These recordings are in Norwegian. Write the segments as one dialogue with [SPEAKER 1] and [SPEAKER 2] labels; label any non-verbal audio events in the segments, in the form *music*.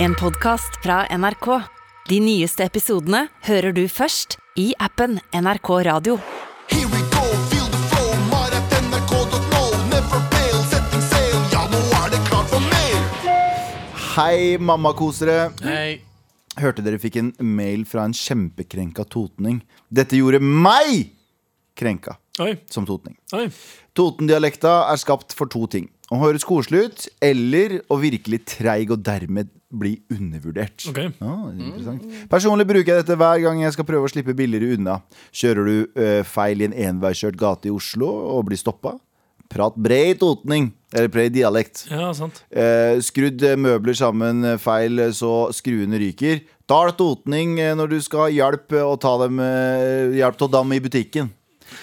[SPEAKER 1] En podcast fra NRK. De nyeste episodene hører du først i appen NRK Radio.
[SPEAKER 2] Here we go, feel the flow, mar at nrk.no. Never fail, setting sail, ja nå er det klart for mer.
[SPEAKER 3] Hei, mammakosere.
[SPEAKER 4] Hei.
[SPEAKER 3] Hørte dere fikk en mail fra en kjempekrenka totning. Dette gjorde meg krenka
[SPEAKER 4] Oi.
[SPEAKER 3] som totning.
[SPEAKER 4] Oi.
[SPEAKER 3] Totendialekta er skapt for to ting. Å høres koselig ut, eller å virkelig treig og dermed bli undervurdert.
[SPEAKER 4] Ok.
[SPEAKER 3] Ah, interessant. Personlig bruker jeg dette hver gang jeg skal prøve å slippe billigere unna. Kjører du eh, feil i en enveiskjørt gate i Oslo og blir stoppa? Prat brei totning, eller brei dialekt.
[SPEAKER 4] Ja, sant.
[SPEAKER 3] Eh, skrudd eh, møbler sammen eh, feil, eh, så skruene ryker. Da er det totning eh, når du skal ha hjelp, eh, og ta dem, eh, hjelp til å damme i butikken.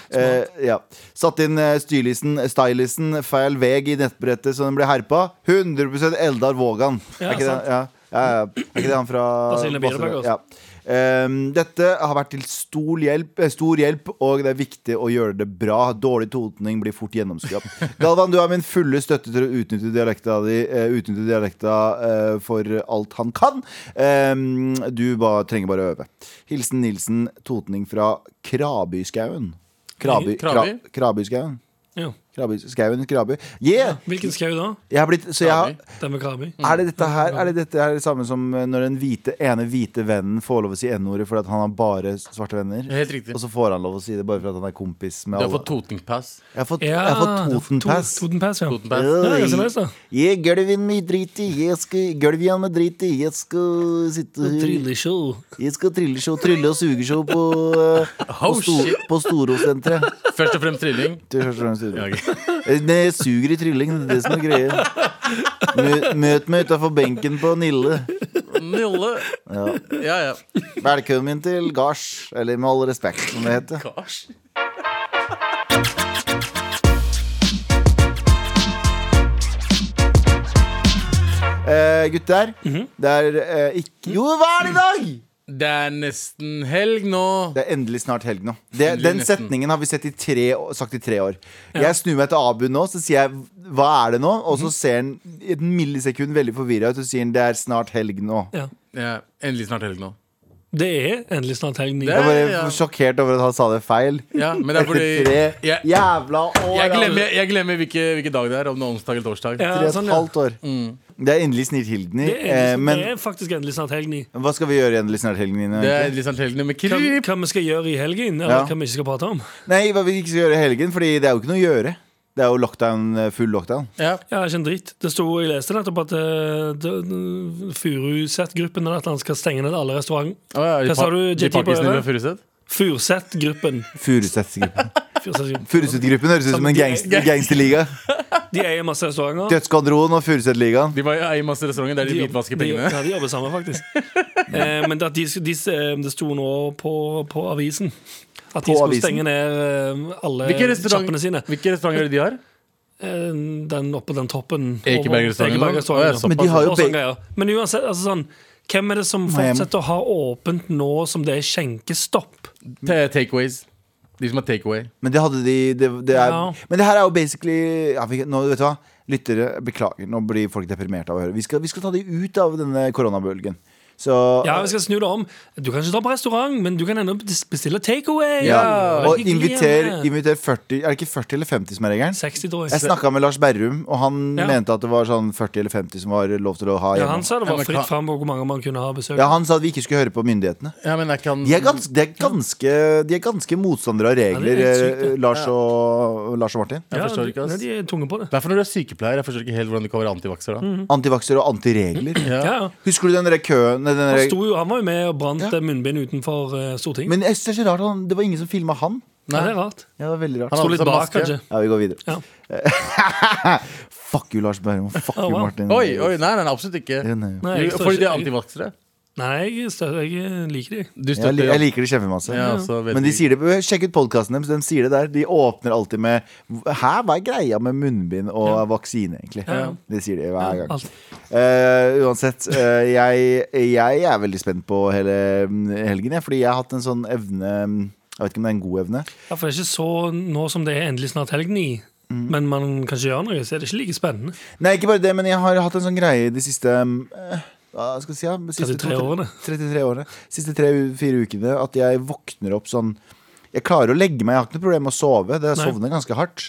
[SPEAKER 3] Eh, ja. Satt inn eh, stylisten, stylisten feil veg i nettbrettet så den ble herpa. 100 Eldar Vågan. er,
[SPEAKER 4] Ja,
[SPEAKER 3] ikke det,
[SPEAKER 4] sant.
[SPEAKER 3] ja, ja, ja. er ikke det han fra
[SPEAKER 4] Basile Bierbakk også.
[SPEAKER 3] Ja. Ehm, dette har vært til stor hjelp, eh, stor hjelp, og det er viktig å gjøre det bra. Dårlig totning blir fort *laughs* gjennomskuet. Galvan, du har min fulle støtte til å utnytte dialekta di eh, Utnytte dialekta eh, for alt han kan. Ehm, du ba, trenger bare å øve. Hilsen Nilsen Totning fra Krabyskauen. Kraby,
[SPEAKER 4] Krabi?
[SPEAKER 3] Kra, Krabyskauen?
[SPEAKER 4] Ja.
[SPEAKER 3] Krabyskauen? Kraby. Yeah!
[SPEAKER 4] Hvilken skau da?
[SPEAKER 3] Jeg har blitt, så jeg har,
[SPEAKER 4] Den med Krabi?
[SPEAKER 3] er det dette her er det dette her det samme som eh, når den hvite, ene hvite vennen får lov å si N-ordet fordi at han har bare svarte venner?
[SPEAKER 5] Helt riktig.
[SPEAKER 3] Og så får han lov å si det bare fordi at han er kompis med
[SPEAKER 5] Du har
[SPEAKER 3] alle.
[SPEAKER 5] fått Totenpass.
[SPEAKER 3] Jeg har fått,
[SPEAKER 4] Ja,
[SPEAKER 3] jeg har fått
[SPEAKER 4] det er to-
[SPEAKER 3] Totenpass.
[SPEAKER 4] Totenpass, ja.
[SPEAKER 5] Totenpass.
[SPEAKER 4] Det er ganske nice, da.
[SPEAKER 3] Jeg gølven med drit i, jeg skal Gølv igjen med drit i, jeg skal sitte her
[SPEAKER 4] Trylleshow.
[SPEAKER 3] Jeg skal trylleshow, trylle- og sugeshow på, eh, på,
[SPEAKER 5] Oh,
[SPEAKER 3] Sto-
[SPEAKER 5] shit.
[SPEAKER 3] på Storosenteret.
[SPEAKER 5] Først og fremst trilling.
[SPEAKER 3] Til første gang i studio.
[SPEAKER 5] Ja,
[SPEAKER 3] Eh, Nei, jeg suger i trylling, det er det som er greia. Mø- Møt meg utafor benken på Nille.
[SPEAKER 5] Nille.
[SPEAKER 3] Ja.
[SPEAKER 5] Ja, ja.
[SPEAKER 3] Velkommen til gards, eller med all respekt, som det heter.
[SPEAKER 5] Gosh.
[SPEAKER 3] Eh, gutter, det er eh, ikke Jo, hva er det i dag?!
[SPEAKER 5] Det er nesten helg nå.
[SPEAKER 3] Det er endelig snart helg nå. Det,
[SPEAKER 5] Endelig
[SPEAKER 3] den
[SPEAKER 5] nesten.
[SPEAKER 3] setningen har vi sett i tre, år- sagt i tre år. Jeg snur meg til Abu nå, så sier jeg 'hva er det nå?' Og så ser han i et millisekund veldig forvirra ut og sier han, 'det er snart helg nå'.
[SPEAKER 4] Ja.
[SPEAKER 5] Ja, endelig snart helg nå.
[SPEAKER 4] Det er endelig snart helg.
[SPEAKER 5] Det
[SPEAKER 3] Jeg
[SPEAKER 5] er-
[SPEAKER 4] Nick.
[SPEAKER 3] var
[SPEAKER 5] ja.
[SPEAKER 3] sjokkert over at han sa det feil.
[SPEAKER 5] Ja, men det er
[SPEAKER 3] Etter
[SPEAKER 5] fordi
[SPEAKER 3] tre
[SPEAKER 5] jeg, jeg,
[SPEAKER 3] jævla år. altså.
[SPEAKER 5] glemmer, jeg glemmer hvilke, hvilke dag det er. Om det er onsdag eller torsdag.
[SPEAKER 4] Ja,
[SPEAKER 3] Tre og et
[SPEAKER 4] sånn, ja.
[SPEAKER 3] halvt år.
[SPEAKER 5] Mm.
[SPEAKER 3] Det er endelig snart helg, Ni.
[SPEAKER 4] Det er, endelig,
[SPEAKER 3] Eh,
[SPEAKER 4] snart-
[SPEAKER 3] men
[SPEAKER 4] det er faktisk endelig snart helg. Nick.
[SPEAKER 3] hva skal vi gjøre i endelig snart helg, Nina?
[SPEAKER 5] Det er
[SPEAKER 3] egentlig?
[SPEAKER 5] endelig snart helg nå.
[SPEAKER 4] Hva,
[SPEAKER 5] Men kryp!
[SPEAKER 4] hva vi skal gjøre i helgen, eller
[SPEAKER 3] Ja.
[SPEAKER 4] hva vi ikke skal prate om.
[SPEAKER 3] Nei, hva vi ikke skal gjøre i helgen, Fordi det er jo ikke noe å gjøre. Det er jo lockdown, eh, full lockdown.
[SPEAKER 5] Ja.
[SPEAKER 4] Ja, ikke en dritt. Det sto, Jeg leste nettopp at uh, Furuset-gruppen eller et eller annet skal stenge ned alle restauranter.
[SPEAKER 5] Å, ja.
[SPEAKER 4] Hva sa du,
[SPEAKER 5] De
[SPEAKER 4] JT på
[SPEAKER 5] pakkisene
[SPEAKER 4] øret?
[SPEAKER 5] fra Furuset?
[SPEAKER 4] Furuset-gruppen. *laughs*
[SPEAKER 3] Furuset-gruppen
[SPEAKER 4] Furuset-gruppen.
[SPEAKER 3] Furuset-gruppen høres ut som en gangst- gangsterliga.
[SPEAKER 4] De eier masse restauranter.
[SPEAKER 3] Dødsskvadron og Furuset-ligaen.
[SPEAKER 5] De var i masse restauranter der de hvitvasker
[SPEAKER 4] De,
[SPEAKER 5] pengene.
[SPEAKER 4] ja, de jobber sammen,
[SPEAKER 5] *laughs*
[SPEAKER 4] faktisk. eh, men at de, de, eh, det sto nå på, på avisen at de
[SPEAKER 3] På
[SPEAKER 4] skulle
[SPEAKER 3] avisen?
[SPEAKER 4] stenge ned eh, alle
[SPEAKER 5] Hvilke restauranter,
[SPEAKER 4] sjappene sine.
[SPEAKER 5] hvilke restauranter er det de har?
[SPEAKER 4] Eh, Den oppå den toppen.
[SPEAKER 5] Ekebergrestauranten? Å, ja,
[SPEAKER 4] Ekebergrestauranten.
[SPEAKER 5] såpass.
[SPEAKER 3] Men de har
[SPEAKER 4] ja.
[SPEAKER 3] jo
[SPEAKER 4] Og sånne greier. Men uansett, altså sånn hvem er det som
[SPEAKER 3] Miami.
[SPEAKER 4] fortsetter å ha åpent nå som det er skjenkestopp?
[SPEAKER 5] Ta- Takeaways. De som har takeaway.
[SPEAKER 3] Men det hadde de det, det er,
[SPEAKER 4] Ja.
[SPEAKER 3] Men det her er jo basically ja, vi, nå, Vet du hva? Lyttere, beklager. Nå blir folk deprimerte av å høre. Vi skal, vi skal ta de ut av denne koronabølgen. Så
[SPEAKER 4] Ja, vi skal snu det om. Du kan ikke dra på restaurant, men du kan ennå bestille takeaway.
[SPEAKER 3] ja, Og
[SPEAKER 4] Hyggelig
[SPEAKER 3] inviter,
[SPEAKER 4] hjemme.
[SPEAKER 3] inviter 40 Er det ikke 40 eller 50 som er regelen?
[SPEAKER 4] 60, tror
[SPEAKER 3] Jeg
[SPEAKER 4] jeg.
[SPEAKER 3] snakka med Lars Berrum, og han
[SPEAKER 4] Ja.
[SPEAKER 3] mente at det var sånn 40 eller 50 som var lov til å ha
[SPEAKER 4] Ja,
[SPEAKER 3] hjemme.
[SPEAKER 4] han sa det
[SPEAKER 5] Ja,
[SPEAKER 4] var
[SPEAKER 5] men
[SPEAKER 4] fritt
[SPEAKER 5] hva-
[SPEAKER 4] fram på hvor mange man kunne ha besøk.
[SPEAKER 3] Ja, han sa at vi ikke skulle høre på myndighetene.
[SPEAKER 5] Ja, men jeg kan
[SPEAKER 3] De er ganske, de er ganske, de er ganske motstandere av regler,
[SPEAKER 4] Ja, det er helt sykt,
[SPEAKER 3] eh, Lars og, Lars og Martin.
[SPEAKER 5] Jeg forstår ikke, ass.
[SPEAKER 4] nei, De er tunge på det.
[SPEAKER 5] Det er for når du er sykepleier. Jeg forstår ikke helt hvordan du kan være antivakser da.
[SPEAKER 4] Mm.
[SPEAKER 3] Antivakser og antiregler.
[SPEAKER 4] Mhm. Ja, ja.
[SPEAKER 3] Husker du den der køen den
[SPEAKER 4] Han,
[SPEAKER 3] der,
[SPEAKER 4] sto jo, han var jo med og brant eh, munnbind utenfor eh, Stortinget.
[SPEAKER 3] Men jeg synes det er så rart, han, det var ingen som filma han.
[SPEAKER 4] Nei, det er rart.
[SPEAKER 3] Ja, det var veldig
[SPEAKER 5] Han
[SPEAKER 3] rart.
[SPEAKER 5] har-
[SPEAKER 4] Sto litt
[SPEAKER 5] sånn
[SPEAKER 4] bak,
[SPEAKER 5] maske.
[SPEAKER 4] kanskje.
[SPEAKER 3] Ja, vi går videre.
[SPEAKER 4] Ja.
[SPEAKER 3] *laughs* Fuck you, Lars Berrum. og Fuck
[SPEAKER 4] Oh,
[SPEAKER 3] you,
[SPEAKER 4] wow.
[SPEAKER 3] Martin.
[SPEAKER 5] Oi, oi, nei, nei, nei absolutt ikke.
[SPEAKER 3] Ja, nei.
[SPEAKER 4] Nei, jeg
[SPEAKER 5] Jo,
[SPEAKER 4] står
[SPEAKER 5] Fordi de er
[SPEAKER 4] ikke-
[SPEAKER 5] antivaksere.
[SPEAKER 4] Nei, jeg, stø- jeg liker de.
[SPEAKER 5] Du
[SPEAKER 3] Jeg,
[SPEAKER 5] støtter
[SPEAKER 3] li- jeg liker det kjempemasse.
[SPEAKER 5] ja, så vet
[SPEAKER 3] Men de
[SPEAKER 5] vi-
[SPEAKER 3] sier det, sjekk ut podkasten deres. De sier det der. De åpner alltid med Hæ, hva er greia med munnbind og vaksine, egentlig?
[SPEAKER 4] Ja. altså,
[SPEAKER 3] Det sier de hver gang.
[SPEAKER 4] Alt.
[SPEAKER 3] Eh, uansett, eh, jeg, jeg er veldig spent på hele mm, helgen, jeg, fordi jeg har hatt en sånn evne mm, Jeg vet ikke om det er en god evne.
[SPEAKER 4] Ja, for det er ikke så nå som det er endelig snart helgen i.
[SPEAKER 3] Mm.
[SPEAKER 4] Men man kan ikke gjøre noe, så er det ikke like spennende.
[SPEAKER 3] Nei, ikke bare det, men jeg har hatt en sånn greie de siste mm, eh, hva skal jeg si, ja, de siste
[SPEAKER 4] 33
[SPEAKER 3] to-
[SPEAKER 4] årene.
[SPEAKER 3] 33 årene. Siste tre-fire ukene at jeg våkner opp sånn Jeg klarer å legge meg, jeg har ikke noe problem med å sove. Det jeg
[SPEAKER 4] Nei.
[SPEAKER 3] sovner ganske hardt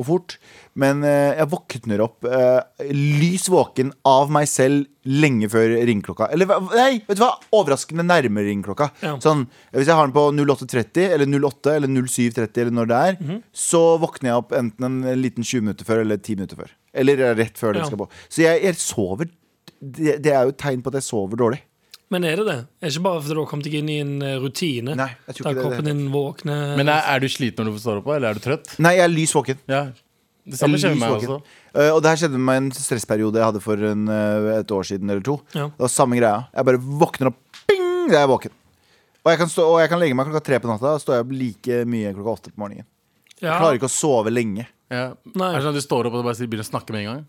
[SPEAKER 3] og fort. Men eh, jeg våkner opp eh, lys våken av meg selv lenge før ringeklokka. Eller hva- nei, vet du hva? Overraskende nærme ringeklokka.
[SPEAKER 4] Ja.
[SPEAKER 3] Sånn, hvis jeg har den på 08.30 eller 08 eller 07.30 eller når det er,
[SPEAKER 4] Mhm.
[SPEAKER 3] så våkner jeg opp enten en liten 20 minutter før eller 10 minutter før. Eller rett før den
[SPEAKER 4] Ja.
[SPEAKER 3] skal på. Så jeg, jeg sover det, det er jo et tegn på at jeg sover dårlig.
[SPEAKER 4] Men er det det? Er ikke bare fordi du har kommet deg inn i en eh, rutine?
[SPEAKER 3] Nei, jeg tror ikke
[SPEAKER 4] der
[SPEAKER 3] det er
[SPEAKER 4] kroppen
[SPEAKER 3] det.
[SPEAKER 4] din våkner
[SPEAKER 5] Men er, er du sliten når du står opp, eller er du trøtt?
[SPEAKER 3] Nei, jeg er lys våken.
[SPEAKER 5] Ja. Det samme skjer
[SPEAKER 3] Lys
[SPEAKER 5] med meg
[SPEAKER 3] våken.
[SPEAKER 5] også.
[SPEAKER 3] Eh, og det her skjedde med meg i en stressperiode jeg hadde for en, eh, et år siden eller to.
[SPEAKER 4] Ja.
[SPEAKER 3] Det var samme greia. Jeg bare våkner opp, bing, da er jeg våken. Og jeg, kan stå, og jeg kan legge meg klokka tre på natta, da står jeg opp like mye klokka åtte på morgenen.
[SPEAKER 4] ja.
[SPEAKER 3] Klarer ikke å sove lenge.
[SPEAKER 5] Ja.
[SPEAKER 4] Nei.
[SPEAKER 5] Er det sånn at du står opp og bare sier- begynner å snakke med en gang?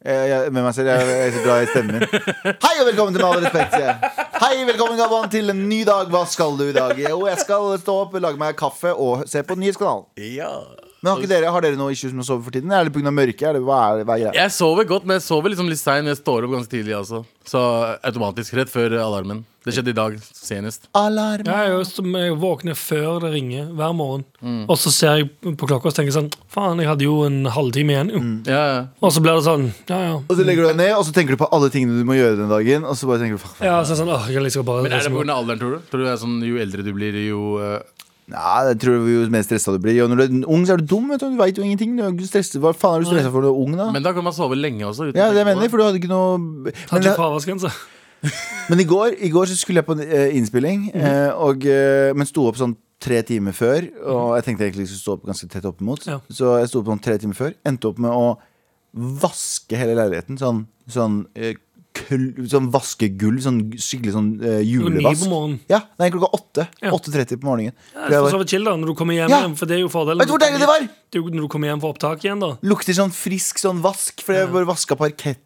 [SPEAKER 3] Jeg, jeg, med meg selv, jeg, jeg er så glad i stemmen min. *laughs* Hei og velkommen til Med all respekt. sier jeg. Hei, velkommen Gabban, til en ny dag. Hva skal du i dag? Jo, jeg skal stå opp, lage meg kaffe og se på Nyhetskanalen.
[SPEAKER 5] Ja.
[SPEAKER 3] Men har, ikke dere, har dere noe issues med å sove for tiden? Er det pga. mørket? Er det, hva er, hva er greia?
[SPEAKER 5] Jeg sover godt, men jeg sover liksom litt sein. Jeg står opp ganske tidlig, altså. Så automatisk. Rett før alarmen. Det skjedde i dag senest.
[SPEAKER 3] Alarm.
[SPEAKER 4] Ja, jeg, er jo som- jeg våkner før det ringer hver morgen.
[SPEAKER 3] Mm.
[SPEAKER 4] Og så ser jeg på klokka og så tenker jeg sånn Faen, jeg hadde jo en halvtime igjen. jo.
[SPEAKER 3] Mm.
[SPEAKER 5] Ja, ja.
[SPEAKER 4] Og så blir det sånn. Ja, ja.
[SPEAKER 3] Og så legger du deg ned, og så tenker du på alle tingene du må gjøre den dagen. Og så bare tenker du faen,
[SPEAKER 4] ja så er det sånn, åh, jeg kan liksom bare
[SPEAKER 5] Men er det pga. alderen, tror du? Tror du det er sånn, Jo eldre du blir, jo eh,
[SPEAKER 3] Nei, jeg tror jo mer stressa du blir. Og når du er ung, så er du dum. Vet du, du veit jo ingenting. Du er ikke stresset. Hva faen er du stressa for når du er ung,
[SPEAKER 4] Ah.
[SPEAKER 3] da?
[SPEAKER 5] Men da kan man sove lenge også. uten
[SPEAKER 3] ja,
[SPEAKER 5] å
[SPEAKER 3] det
[SPEAKER 5] tenke på
[SPEAKER 3] mener jeg, for du hadde ikke noe
[SPEAKER 4] Hadde
[SPEAKER 3] Men,
[SPEAKER 4] ikke fraværsgrense.
[SPEAKER 3] men i går, i går så skulle jeg på en eh, innspilling, eh, og, eh, men sto opp sånn tre timer før. Og jeg tenkte egentlig jeg skulle stå opp ganske tett oppimot,
[SPEAKER 4] Ja.
[SPEAKER 3] så jeg sto opp sånn tre timer før. Endte opp med å vaske hele leiligheten. Sånn, sånn, eh, kull, sånn vaskegulv. Sånn skikkelig sånn eh,
[SPEAKER 4] Klokka ni
[SPEAKER 3] julevask.
[SPEAKER 4] på morgenen.
[SPEAKER 3] Ja, nei, klokka åtte.
[SPEAKER 4] Ja.
[SPEAKER 3] 8.30 på morgenen.
[SPEAKER 4] Ja,
[SPEAKER 3] For jeg
[SPEAKER 4] så
[SPEAKER 3] var-
[SPEAKER 4] sove chill da, når du kommer hjem
[SPEAKER 3] Ja.
[SPEAKER 4] igjen. For det er jo fordelen.
[SPEAKER 3] Vet du hvor deilig det var?
[SPEAKER 4] Det er jo når du kommer hjem for opptak igjen, da.
[SPEAKER 3] Lukter sånn frisk sånn vask, fordi jeg bare vaska parketten.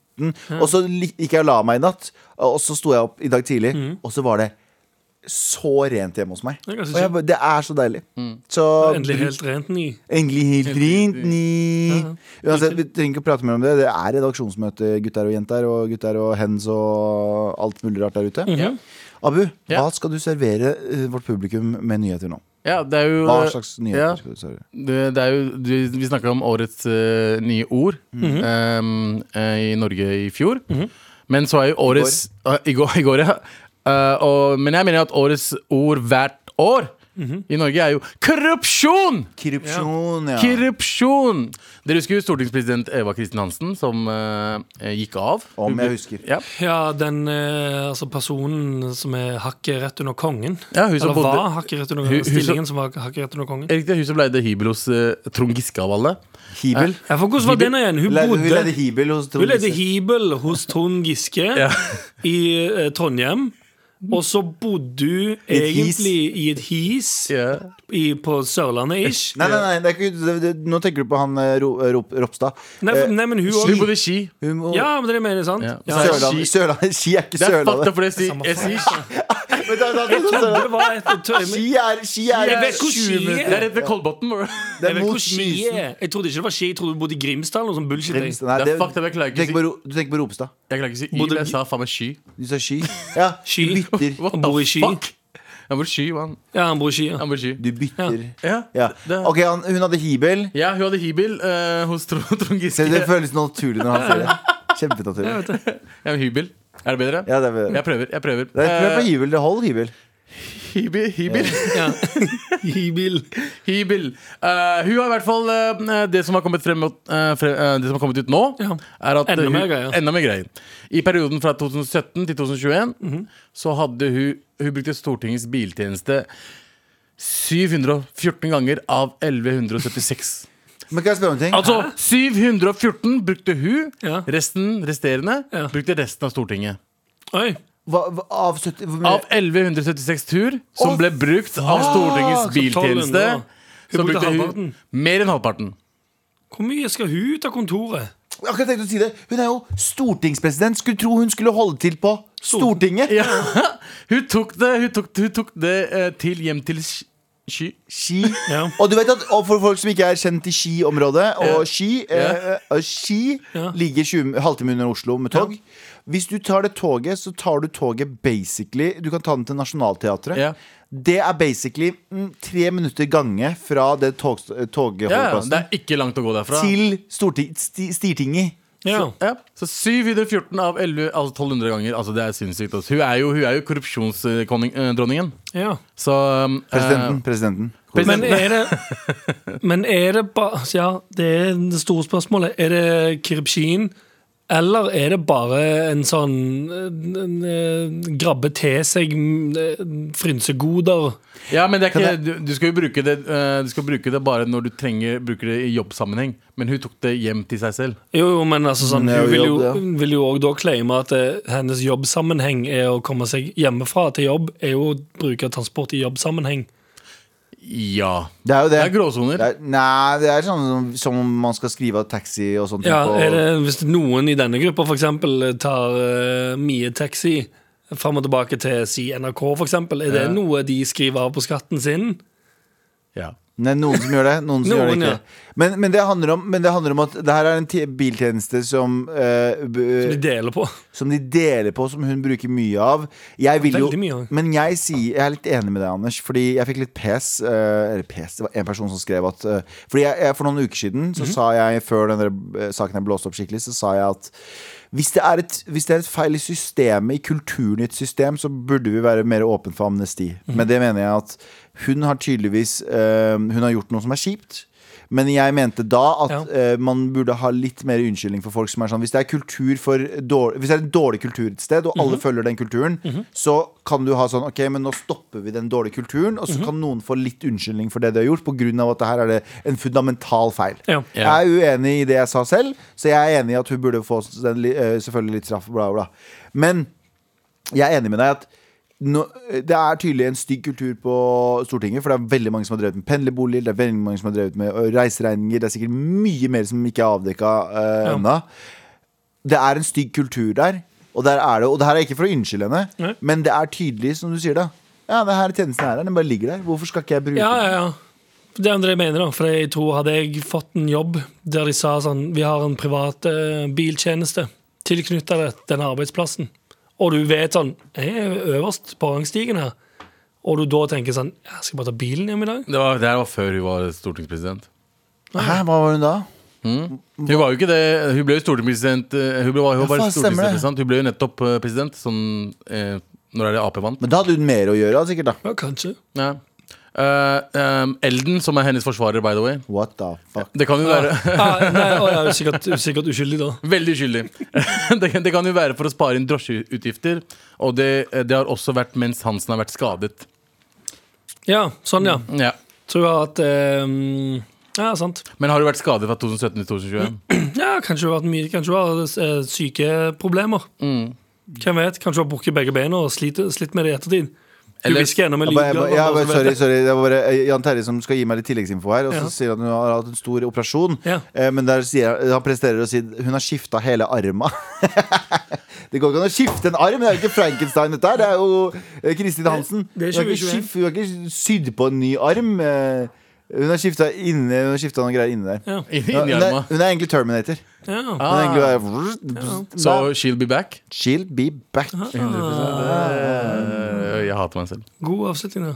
[SPEAKER 3] Og så li- gikk jeg og la meg i natt, og så sto jeg opp i dag tidlig, og så var det så rent hjemme hos meg.
[SPEAKER 4] Mm. Det er ganske
[SPEAKER 3] og jeg,
[SPEAKER 4] chill.
[SPEAKER 3] bare- det er så deilig. Så
[SPEAKER 4] Endelig helt rent ny.
[SPEAKER 3] Endelig helt rent ni.
[SPEAKER 4] Ja.
[SPEAKER 3] Uansett, vi trenger ikke å prate mer om det. Det er redaksjonsmøte, gutter og jenter, og gutter og hens og alt mulig rart der
[SPEAKER 4] Mm.
[SPEAKER 3] ute.
[SPEAKER 5] Ja.
[SPEAKER 3] Abu,
[SPEAKER 5] Ja.
[SPEAKER 3] hva skal du servere eh, vårt publikum med nyheter nå?
[SPEAKER 5] Ja, det er jo
[SPEAKER 3] Hva slags nyheter
[SPEAKER 5] Eh, ja.
[SPEAKER 3] skal du servere?
[SPEAKER 5] Det, det er jo, du, vi snakka om årets eh, nye ord
[SPEAKER 3] Mhm.
[SPEAKER 5] eh, eh, i Norge i fjor. Men så er jo årets eh, I går, i går ja. Eh, og, men jeg mener at årets ord hvert år i Norge er jo korrupsjon!
[SPEAKER 3] Korrupsjon, Mhm. ja.
[SPEAKER 5] Korrupsjon! Dere husker jo stortingspresident Eva Kristin Hansen, som eh, gikk av.
[SPEAKER 3] Om jeg husker.
[SPEAKER 5] Ja,
[SPEAKER 4] Ja, den eh, altså personen som er hakket rett under kongen.
[SPEAKER 5] Ja, hun som
[SPEAKER 4] Eller
[SPEAKER 5] bodde-
[SPEAKER 4] var hakket rett under
[SPEAKER 5] Hun- hun
[SPEAKER 4] kongen.
[SPEAKER 5] som-
[SPEAKER 4] Stillingen som var hakket rett under kongen.
[SPEAKER 3] Eh,
[SPEAKER 5] Riktig, hun som leide hybel hos eh, Trond Giske av alle.
[SPEAKER 3] Hibel.
[SPEAKER 4] Ja, for hvordan var den igjen? Hun
[SPEAKER 3] Leide- Hun
[SPEAKER 4] bodde
[SPEAKER 3] leide hibel hos Trond
[SPEAKER 4] Eh, Hun ledde
[SPEAKER 3] Giske.
[SPEAKER 4] hybel hos Trond Giske i eh, Trondheim. Og så bodde hun
[SPEAKER 3] I et his.
[SPEAKER 4] egentlig i et his
[SPEAKER 5] Ja.
[SPEAKER 4] i, på Sørlandet, ish.
[SPEAKER 3] Nei, nei, nei, det er ikke, det, det, nå tenker du på han eh, Ro, eh, Rop, Ropstad. Eh,
[SPEAKER 4] Nei, for, nei men hun
[SPEAKER 5] Hun
[SPEAKER 4] òg.
[SPEAKER 5] bodde i Ski.
[SPEAKER 4] Ja, men det er det jeg mener, sant?
[SPEAKER 5] Ja.
[SPEAKER 4] Ja.
[SPEAKER 5] Så-
[SPEAKER 3] Sørlandet. Sørlandet. Ski er ikke
[SPEAKER 5] Det er fucked up,
[SPEAKER 3] Sørlandet.
[SPEAKER 5] for jeg sier
[SPEAKER 4] Samme
[SPEAKER 5] jeg sier Ski.
[SPEAKER 3] Vent, vent, vent, vent,
[SPEAKER 4] Trodde
[SPEAKER 3] Sørlandet.
[SPEAKER 4] det var et, et,
[SPEAKER 3] Ski
[SPEAKER 4] jeg,
[SPEAKER 3] er, ski er
[SPEAKER 4] Jeg vet hvor Ski
[SPEAKER 3] 20 minutter.
[SPEAKER 4] er.
[SPEAKER 5] Det er rett ved Kolbotn. bro.
[SPEAKER 3] Det
[SPEAKER 4] jeg
[SPEAKER 3] er
[SPEAKER 4] vet
[SPEAKER 3] mot
[SPEAKER 4] hvor Ski
[SPEAKER 3] Mysen.
[SPEAKER 4] er. Jeg trodde ikke det var Ski, jeg trodde hun bodde i Grimstad eller noe sånn bullshit. jeg.
[SPEAKER 3] Grimstad. Nei,
[SPEAKER 5] Det er fucked up, jeg klarer
[SPEAKER 3] du
[SPEAKER 5] ikke å
[SPEAKER 3] tenker,
[SPEAKER 5] si-
[SPEAKER 3] på, Ro- du tenker på Ropstad.
[SPEAKER 5] Jeg klarer ikke å si Y,
[SPEAKER 4] Bodde-
[SPEAKER 5] men jeg sa faen meg Sky.
[SPEAKER 3] Du sa Ski. Ja,
[SPEAKER 4] Ski.
[SPEAKER 3] du bytter.
[SPEAKER 5] What
[SPEAKER 4] Han
[SPEAKER 5] the
[SPEAKER 4] bor i Ski.
[SPEAKER 5] fuck? Han bor i Ski, man.
[SPEAKER 4] Ja, han bor i Ski. Ja.
[SPEAKER 5] Han bor i Ski.
[SPEAKER 3] Du bytter.
[SPEAKER 5] Ja.
[SPEAKER 3] Ja.
[SPEAKER 5] Det-
[SPEAKER 3] Ok, han, hun hadde hibel.
[SPEAKER 5] ja, hun hadde hybel eh, hos Trond *laughs* Trond Giske.
[SPEAKER 3] Se, det
[SPEAKER 5] Ja,
[SPEAKER 3] føles naturlig når han sier det. Kjempenaturlig.
[SPEAKER 5] men hybel. Er det bedre?
[SPEAKER 3] Ja, det er det.
[SPEAKER 5] Jeg prøver. jeg prøver
[SPEAKER 3] Det er ikke på
[SPEAKER 5] Eh,
[SPEAKER 3] hybel, det holder hybel.
[SPEAKER 5] Hybel. hybel.
[SPEAKER 4] Ja. Hybel.
[SPEAKER 5] *laughs* hybel. Eh, hun har i hvert fall eh, det, som har kommet frem, eh, fre- eh, det som har kommet ut nå,
[SPEAKER 4] Ja.
[SPEAKER 5] er at
[SPEAKER 4] Enda
[SPEAKER 5] hun,
[SPEAKER 4] mer greier.
[SPEAKER 5] enda mer greier. I perioden fra 2017 til 2021 så hadde hun Hun brukte Stortingets biltjeneste 714 ganger av 1176.
[SPEAKER 3] Men kan jeg spørre om en ting?
[SPEAKER 5] Altså 714 brukte hun,
[SPEAKER 4] Ja.
[SPEAKER 5] resten resterende
[SPEAKER 4] Ja.
[SPEAKER 5] brukte resten av Stortinget.
[SPEAKER 4] Oi.
[SPEAKER 3] Hva, hva, av 70 hvor mye-
[SPEAKER 5] Av 1176 tur som
[SPEAKER 3] Å,
[SPEAKER 5] ble brukt av Stortingets
[SPEAKER 4] Så 1200,
[SPEAKER 5] biltjeneste,
[SPEAKER 4] da. Hun
[SPEAKER 5] så
[SPEAKER 4] brukte
[SPEAKER 5] brukte hun
[SPEAKER 4] halvparten.
[SPEAKER 5] mer enn halvparten.
[SPEAKER 4] Hvor mye skal hun ut av kontoret?
[SPEAKER 3] Jeg har akkurat tenkt å si det Hun er jo stortingspresident. Skulle tro hun skulle holde til på Stortinget.
[SPEAKER 5] Ja. Hun tok det, hun tok, hun tok det eh, til hjem til Sk- Sky.
[SPEAKER 3] Ski.
[SPEAKER 4] Ja.
[SPEAKER 3] Og du vet at og for folk som ikke er kjent i Ski-området Og Ski, eh, eh, Ski
[SPEAKER 4] Ja.
[SPEAKER 3] ligger 20, halvtime under Oslo med tog. Hvis du tar det toget, så tar du toget basically Du kan ta den til Nationaltheatret.
[SPEAKER 5] Ja.
[SPEAKER 3] Det er basically mm, tre minutter gange fra det tog,
[SPEAKER 5] Ja,
[SPEAKER 3] togholdeplassen
[SPEAKER 5] det er ikke langt å gå derfra.
[SPEAKER 3] til Storting, sti, Stortinget.
[SPEAKER 4] Ja.
[SPEAKER 5] Ja. Så 714 av 11, altså 1200 ganger. Altså Det er sinnssykt. Altså. Hun er jo, hun er jo korrupsjonsdronningen.
[SPEAKER 4] ja.
[SPEAKER 5] Så um,
[SPEAKER 3] Presidenten.
[SPEAKER 5] eh,
[SPEAKER 3] presidenten.
[SPEAKER 4] Men er det Men er det bare Ja, det er det store spørsmålet. Er det Kirpsjin, eller er det bare en sånn eh, en, eh, Grabbe til seg mm, eh, frynsegoder?
[SPEAKER 5] ja, men det er
[SPEAKER 3] Kan
[SPEAKER 5] ikke,
[SPEAKER 3] jeg-
[SPEAKER 5] du, du skal jo bruke det, eh, du skal bruke det bare når du trenger bruker det i jobbsammenheng. Men hun tok det hjem til seg selv.
[SPEAKER 4] Jo, jo, men altså sånn,
[SPEAKER 3] Det er jo
[SPEAKER 4] hun vil jo,
[SPEAKER 3] jobb, det.
[SPEAKER 4] hun vil jo også da claime at eh, hennes jobbsammenheng er å komme seg hjemmefra til jobb, er jo å bruke transport i jobbsammenheng.
[SPEAKER 5] Ja.
[SPEAKER 3] Det er jo det.
[SPEAKER 5] Det er gråsoner.
[SPEAKER 3] Det er- Nei, det er sånn som, som om man skal skrive av taxi og sånt.
[SPEAKER 4] Ja,
[SPEAKER 3] på-
[SPEAKER 4] er det, Hvis noen i denne gruppa for eksempel tar eh, mye taxi fram og tilbake til si NRK, for eksempel, er det
[SPEAKER 5] Ja.
[SPEAKER 4] noe de skriver av på skatten sin?
[SPEAKER 5] ja.
[SPEAKER 3] Nei, noen som gjør det, noen som
[SPEAKER 4] Noen,
[SPEAKER 3] gjør det ikke.
[SPEAKER 4] ja.
[SPEAKER 3] Men, men, det handler om, men det handler om at det her er en t- biltjeneste som, eh, b-
[SPEAKER 4] De deler på.
[SPEAKER 3] som de deler på, som hun bruker mye av. Jeg vil jo,
[SPEAKER 4] Veldig mye av.
[SPEAKER 3] men jeg, sier, jeg er litt enig med deg, Anders. Fordi jeg fikk litt pes. eh, Eller pes, det var en person som skrev at eh, Fordi jeg, jeg, For noen uker siden,
[SPEAKER 4] Mhm.
[SPEAKER 3] så sa jeg før denne eh, saken her blåste opp skikkelig, så sa jeg at hvis det, er et, hvis det er et feil i systemet, i kulturen i et system, så burde vi være mer åpne for amnesti.
[SPEAKER 4] Mhm.
[SPEAKER 3] Men det mener jeg at hun har tydeligvis eh, Hun har gjort noe som er kjipt. Men jeg mente da at
[SPEAKER 4] Ja.
[SPEAKER 3] eh, man burde ha litt mer unnskyldning for folk som er sånn Hvis det er, kultur for dårlig, hvis det er en dårlig kultur et sted, og alle følger den kulturen, så kan du ha sånn Ok, men nå stopper vi den dårlige kulturen, og så kan noen få litt unnskyldning for det de har gjort, på grunn av at det her er det en fundamental feil.
[SPEAKER 4] Ja.
[SPEAKER 3] Jeg
[SPEAKER 5] Ja.
[SPEAKER 3] er uenig i det jeg sa selv, så jeg er enig i at hun burde få den, li- eh, selvfølgelig litt straff, bla, bla. Men jeg er enig med deg at nå- det er tydelig en stygg kultur på Stortinget, for det er veldig mange som har drevet med pendlerboliger, det er veldig mange som har drevet med ø, reiseregninger, det er sikkert mye mer som ikke er avdekka eh,
[SPEAKER 4] Ja.
[SPEAKER 3] ennå. Det er en stygg kultur der, og der er det Og det her er ikke for å unnskylde henne,
[SPEAKER 4] Nei.
[SPEAKER 3] men det er tydelig, som du sier, da. Ja, det her tjenesten her, den bare ligger der. Hvorfor skal ikke jeg bruke
[SPEAKER 4] Ja,
[SPEAKER 3] den?
[SPEAKER 4] ja, ja. Det er det jeg mener, da. For jeg tror hadde jeg fått en jobb der de sa sånn Vi har en privat eh, biltjeneste tilknytta denne arbeidsplassen. Og du vet sånn Jeg er øverst på rangstigen her. Og du da tenker sånn Jeg skal bare ta bilen hjem i dag.
[SPEAKER 5] Det, var, det her var før hun var stortingspresident.
[SPEAKER 3] Hæ, hva var hun da?
[SPEAKER 5] Hun var jo ikke det, hun ble jo stortingspresident eh, Hun ble, hun var
[SPEAKER 3] Ja, faen,
[SPEAKER 5] bare
[SPEAKER 3] stemmer det.
[SPEAKER 5] stortingspresident, sant? Hun ble jo nettopp eh, president sånn, eh, Når er det AP vant?
[SPEAKER 3] Men da hadde hun mer å gjøre, sikkert, da.
[SPEAKER 4] Ja, *laughs* kanskje.
[SPEAKER 5] Ja. Eh, ehm, Elden, som er hennes forsvarer, by the way
[SPEAKER 3] What the fuck?
[SPEAKER 5] Det kan jo være *laughs*
[SPEAKER 4] Ah, nei, å, jeg er jo sikkert, sikkert uskyldig, da.
[SPEAKER 5] Veldig uskyldig. *laughs* det, kan- det kan jo være for å spare inn drosjeutgifter. Og det, eh, det har også vært mens Hansen har vært skadet.
[SPEAKER 4] Ja, sånn, ja.
[SPEAKER 5] Ja.
[SPEAKER 4] Tror jeg at eh, Ja, sant.
[SPEAKER 5] Men har du vært skadet fra 2017 til 2021?
[SPEAKER 4] Ja, kanskje hun har hatt mye Kanskje hun har eh, syke problemer. Hvem vet? Kanskje hun har brukket begge beina og slitt, slitt med det i ettertid. Hun
[SPEAKER 5] Eller-
[SPEAKER 4] hvisker gjennom en
[SPEAKER 3] Jeg bare, jeg bare,
[SPEAKER 4] lydgave.
[SPEAKER 3] jeg
[SPEAKER 4] bare
[SPEAKER 3] bare,
[SPEAKER 4] så vet
[SPEAKER 3] sorry,
[SPEAKER 4] jeg.
[SPEAKER 3] sorry, det var bare eh, Jan Terje som skal gi meg litt tilleggsinfo her. Og så
[SPEAKER 4] Ja.
[SPEAKER 3] sier han at hun har hatt en stor operasjon.
[SPEAKER 4] Ja.
[SPEAKER 3] Eh, Men der sier han, han presterer å si hun har skifta hele arma. *laughs* det går ikke an å skifte en arm! Det er jo ikke Frankenstein, dette her. Det er jo eh, Kristin Hansen.
[SPEAKER 4] Det- det
[SPEAKER 3] hun,
[SPEAKER 4] er
[SPEAKER 3] har ikke
[SPEAKER 4] 2021.
[SPEAKER 3] skif- hun har ikke sydd på en ny arm. eh, Hun har skifta noen greier inni der.
[SPEAKER 5] Inn-
[SPEAKER 3] Hun
[SPEAKER 5] Inni
[SPEAKER 3] er,
[SPEAKER 5] arma.
[SPEAKER 3] hun er egentlig Terminator.
[SPEAKER 4] Ja.
[SPEAKER 3] Hun er
[SPEAKER 5] Ah,
[SPEAKER 3] egentlig bare,
[SPEAKER 5] så she'll be back?
[SPEAKER 3] She'll be back.
[SPEAKER 5] Eh, jeg hater meg selv.
[SPEAKER 4] God avslutning, da.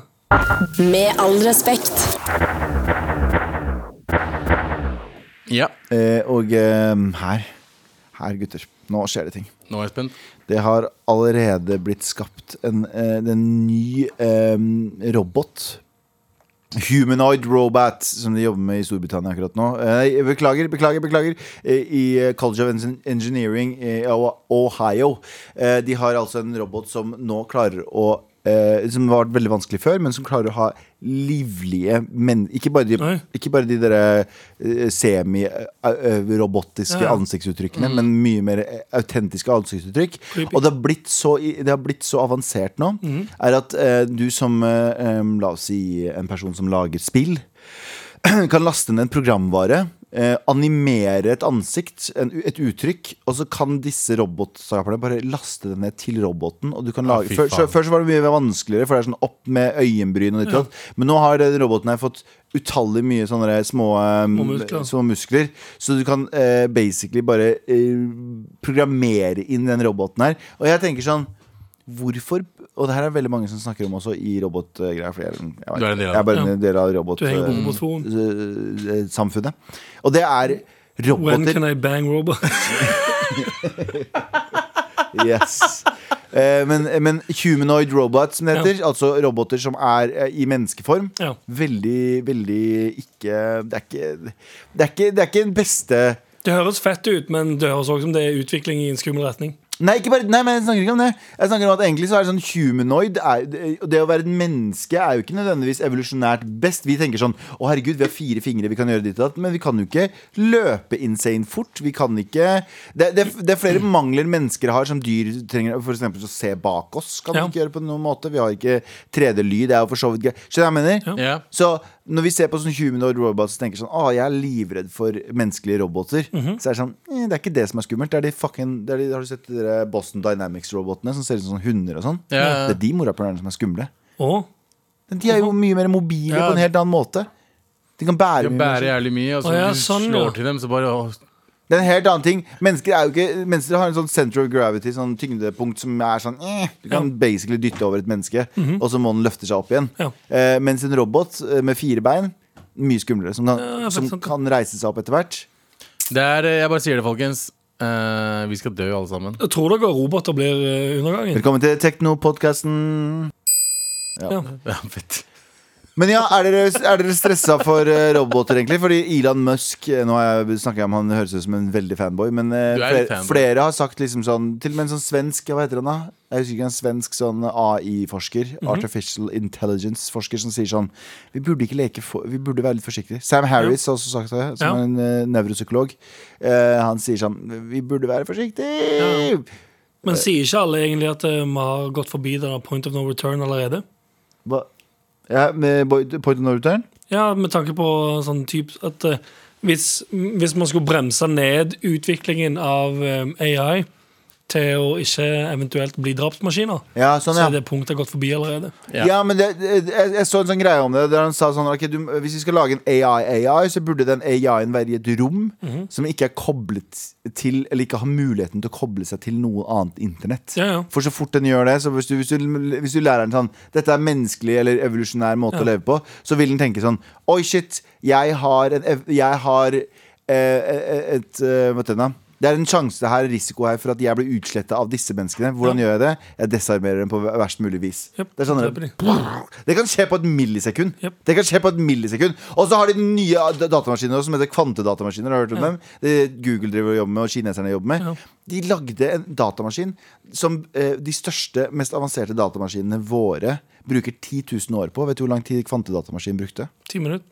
[SPEAKER 6] Med all respekt.
[SPEAKER 5] Ja,
[SPEAKER 3] Eh, og eh, her, her, gutter, nå skjer det ting.
[SPEAKER 5] nå er jeg spent.
[SPEAKER 3] Det har allerede blitt skapt en, eh, en ny eh, robot. Humanoid robot, som de jobber med i Storbritannia akkurat nå. Eh, beklager, beklager, beklager. Eh, I eh, College of Eng- Engineering i O- Ohio. Eh, de har altså en robot som nå klarer å eh, som var veldig vanskelig før, men som klarer å ha livlige men Ikke bare de,
[SPEAKER 4] Oi.
[SPEAKER 3] ikke bare de derre eh, semi-robotiske
[SPEAKER 4] Ja, ja.
[SPEAKER 3] ansiktsuttrykkene, men mye mer eh, autentiske ansiktsuttrykk.
[SPEAKER 4] Creepy. Mm.
[SPEAKER 3] Og det har blitt så, i- det har blitt så avansert nå, er at eh, du som eh, *clears throat* em, La oss si en person som lager spill, kan laste ned en programvare eh, animere et ansikt, en, et uttrykk, og så kan disse robotskaperne bare laste det ned til roboten. Og du kan lage,
[SPEAKER 5] fy
[SPEAKER 3] før, så,
[SPEAKER 5] faen.
[SPEAKER 3] før så var det mye vanskeligere, for det er sånn opp med øyenbryn og ditt og datt. Men nå har den roboten her fått utallig mye sånne der små, eh,
[SPEAKER 4] muskler.
[SPEAKER 3] små muskler. Så du kan eh, basically bare eh, programmere inn den roboten her. Og jeg tenker sånn Hvorfor Og det her er veldig mange som snakker om også i robotgreier. for jeg er- jeg vet-
[SPEAKER 5] Du er en del av det.
[SPEAKER 3] jeg er bare en del av robot,
[SPEAKER 4] Du henger på
[SPEAKER 3] eh,
[SPEAKER 4] robotforum.
[SPEAKER 3] eh, samfunnet. Og det er
[SPEAKER 4] When
[SPEAKER 3] roboter.
[SPEAKER 4] can I bang robot?
[SPEAKER 3] *laughs*
[SPEAKER 4] *laughs*
[SPEAKER 3] Yes. Eh, men, men humanoid robots, som det heter, altså roboter som er eh, i menneskeform,
[SPEAKER 4] Ja.
[SPEAKER 3] veldig, veldig ikke Det er ikke Det er ikke, det er ikke den beste
[SPEAKER 4] Det høres fett ut, men det høres også ut som det er utvikling i en skummel retning.
[SPEAKER 3] Nei, ikke bare, nei, men jeg snakker ikke om det. Jeg snakker om at egentlig så er det sånn humanoid er, det- Det å være et menneske er jo ikke nødvendigvis evolusjonært best. Vi tenker sånn Å, herregud, vi har fire fingre, vi kan gjøre ditt og datt. Men vi kan jo ikke løpe insane fort. Vi kan ikke Det, det, det er flere mangler mennesker har som dyr trenger. For eksempel å se bak oss kan
[SPEAKER 4] Ja.
[SPEAKER 3] vi ikke gjøre på noen måte. Vi har ikke 3D-lyd. Det er jo for så vidt greit. Skjønner du hva jeg mener?
[SPEAKER 5] Ja.
[SPEAKER 3] Så når vi ser på sånn humanoid robots og tenker sånn Å, jeg er livredd for menneskelige roboter.
[SPEAKER 5] Mhm.
[SPEAKER 3] Så er det sånn eh, Det er ikke det som er skummelt. Det er de fucking det er de, Har du sett de der Boston Dynamics-robotene som ser ut som sånne hunder og sånn?
[SPEAKER 5] Ja. Mhm.
[SPEAKER 3] Det er de morapulerne som er skumle.
[SPEAKER 4] Og
[SPEAKER 3] Men De er jo mye mer mobile
[SPEAKER 5] Ja.
[SPEAKER 3] på en helt annen måte. De kan bære
[SPEAKER 5] De
[SPEAKER 3] mye mer.
[SPEAKER 5] bærer jævlig mye, og så
[SPEAKER 4] Å, ja,
[SPEAKER 5] du
[SPEAKER 4] sånn, ja.
[SPEAKER 5] slår til dem, så bare å,
[SPEAKER 3] Det er en helt annen ting. Mennesker, er jo ikke, mennesker har en sånn center of gravity, sånn tyngdepunkt som er sånn eh, Du kan basically dytte over et menneske, og så må den løfte seg opp igjen.
[SPEAKER 4] Mhm. Ja.
[SPEAKER 3] Eh, mens en robot eh, med fire bein, mye skumlere, som kan,
[SPEAKER 4] Ja, for
[SPEAKER 3] som
[SPEAKER 4] eksempel.
[SPEAKER 3] kan reise seg opp etter hvert.
[SPEAKER 5] Det er eh, Jeg bare sier det, folkens. Eh, vi skal dø, alle sammen. *laughs*
[SPEAKER 4] jeg tror dere roboter blir eh, undergangen?
[SPEAKER 3] Velkommen til Tekno-podkasten.
[SPEAKER 4] Ja.
[SPEAKER 5] Ja, fett.
[SPEAKER 3] Men ja, er dere, er dere stressa for eh, roboter, egentlig? Fordi Elon Musk eh, Nå har jeg snakket om han høres ut som en veldig fanboy, men eh,
[SPEAKER 5] Du er litt
[SPEAKER 3] flere,
[SPEAKER 5] fanboy.
[SPEAKER 3] flere har sagt liksom sånn Til og med en sånn svensk Hva heter han, da? Jeg husker ikke en svensk sånn AI-forsker,
[SPEAKER 5] Mhm.
[SPEAKER 3] artificial intelligence-forsker, som sier sånn Vi burde ikke leke for, Vi burde være litt forsiktige. Sam Harris har også sagt det, som
[SPEAKER 4] Ja.
[SPEAKER 3] er en eh, nevropsykolog. Eh, han sier sånn Vi burde være forsiktige!
[SPEAKER 4] Men sier ikke alle egentlig at eh, vi har gått forbi det der point of no return allerede?
[SPEAKER 3] Hva- Ja, med boy- Point of no return?
[SPEAKER 4] Ja, med tanke på sånn typ at eh, hvis, hvis man skulle bremse ned utviklingen av eh, AI til å ikke eventuelt bli drapsmaskiner,
[SPEAKER 3] Ja, sånn,
[SPEAKER 4] så
[SPEAKER 3] ja.
[SPEAKER 4] er det punktet gått forbi allerede.
[SPEAKER 5] Ja.
[SPEAKER 3] Ja, men det, jeg, jeg så en sånn greie om det Der han sa sånn, ok, du, hvis vi skal lage en AI-AI Så burde den AI-en være i et rom Som ikke er koblet til Eller ikke har muligheten til å koble seg til noe annet internett
[SPEAKER 4] Ja, ja.
[SPEAKER 3] For så fort den gjør det så hvis du, hvis, du, hvis du lærer den sånn Dette er menneskelig eller evolusjonær måte å leve på Så vil den tenke sånn Oi shit, jeg har, en, ev- jeg har eh, eh, et, eh, Hva heter den da? Det er en sjanse her, risiko her for at jeg blir utslettet av disse menneskene Hvordan gjør jeg det? Jeg desarmerer dem på verst mulig vis
[SPEAKER 4] Jep,
[SPEAKER 3] Det er sånn
[SPEAKER 4] dreper de.
[SPEAKER 3] det kan skje på et millisekund.
[SPEAKER 4] Jep.
[SPEAKER 3] Det kan skje på et millisekund Og så har de nye da- datamaskiner også, som heter kvantedatamaskiner. Har du hørt om dem? Det Google driver og jobber med, og kineserne jobber med.
[SPEAKER 4] Ja.
[SPEAKER 3] De lagde en datamaskin som eh, de største, mest avanserte datamaskinene våre bruker 10 000 år på. Vet du hvor lang tid kvantedatamaskin brukte?
[SPEAKER 4] Ti minutter.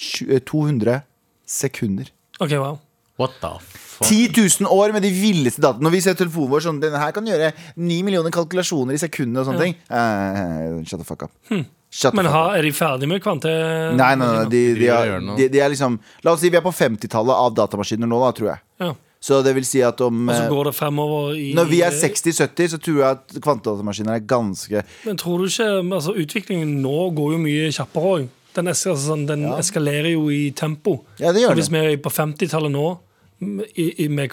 [SPEAKER 3] Tju- eh, 200 sekunder.
[SPEAKER 4] OK, wow.
[SPEAKER 5] What the fuck?
[SPEAKER 3] 10 000 år med de villeste dataene. Når vi ser telefonen vår sånn Denne her kan gjøre 9 millioner kalkulasjoner i sekundene og sånne ting. Eh, shut the fuck up. Shut the
[SPEAKER 4] Hm.
[SPEAKER 3] fuck
[SPEAKER 4] Men
[SPEAKER 3] up.
[SPEAKER 4] har, er de ferdige med kvante...
[SPEAKER 3] Nei, nei, nei de, de,
[SPEAKER 5] driver og
[SPEAKER 3] er,
[SPEAKER 5] gjør noe.
[SPEAKER 3] de, de er liksom La oss si vi er på 50-tallet av datamaskiner nå, da, tror jeg.
[SPEAKER 4] Ja.
[SPEAKER 3] Så det vil si at om
[SPEAKER 4] Og så
[SPEAKER 3] eh,
[SPEAKER 4] går det fremover i
[SPEAKER 3] Når vi er 60-70, så tror jeg at kvantedatamaskiner er ganske
[SPEAKER 4] Men tror du ikke altså, Utviklingen nå går jo mye kjappere òg. Den, es altså, sånn, den eskalerer jo i tempo.
[SPEAKER 3] Ja, det gjør
[SPEAKER 4] Så Hvis
[SPEAKER 3] det.
[SPEAKER 4] vi er på 50-tallet nå, m- i, i, med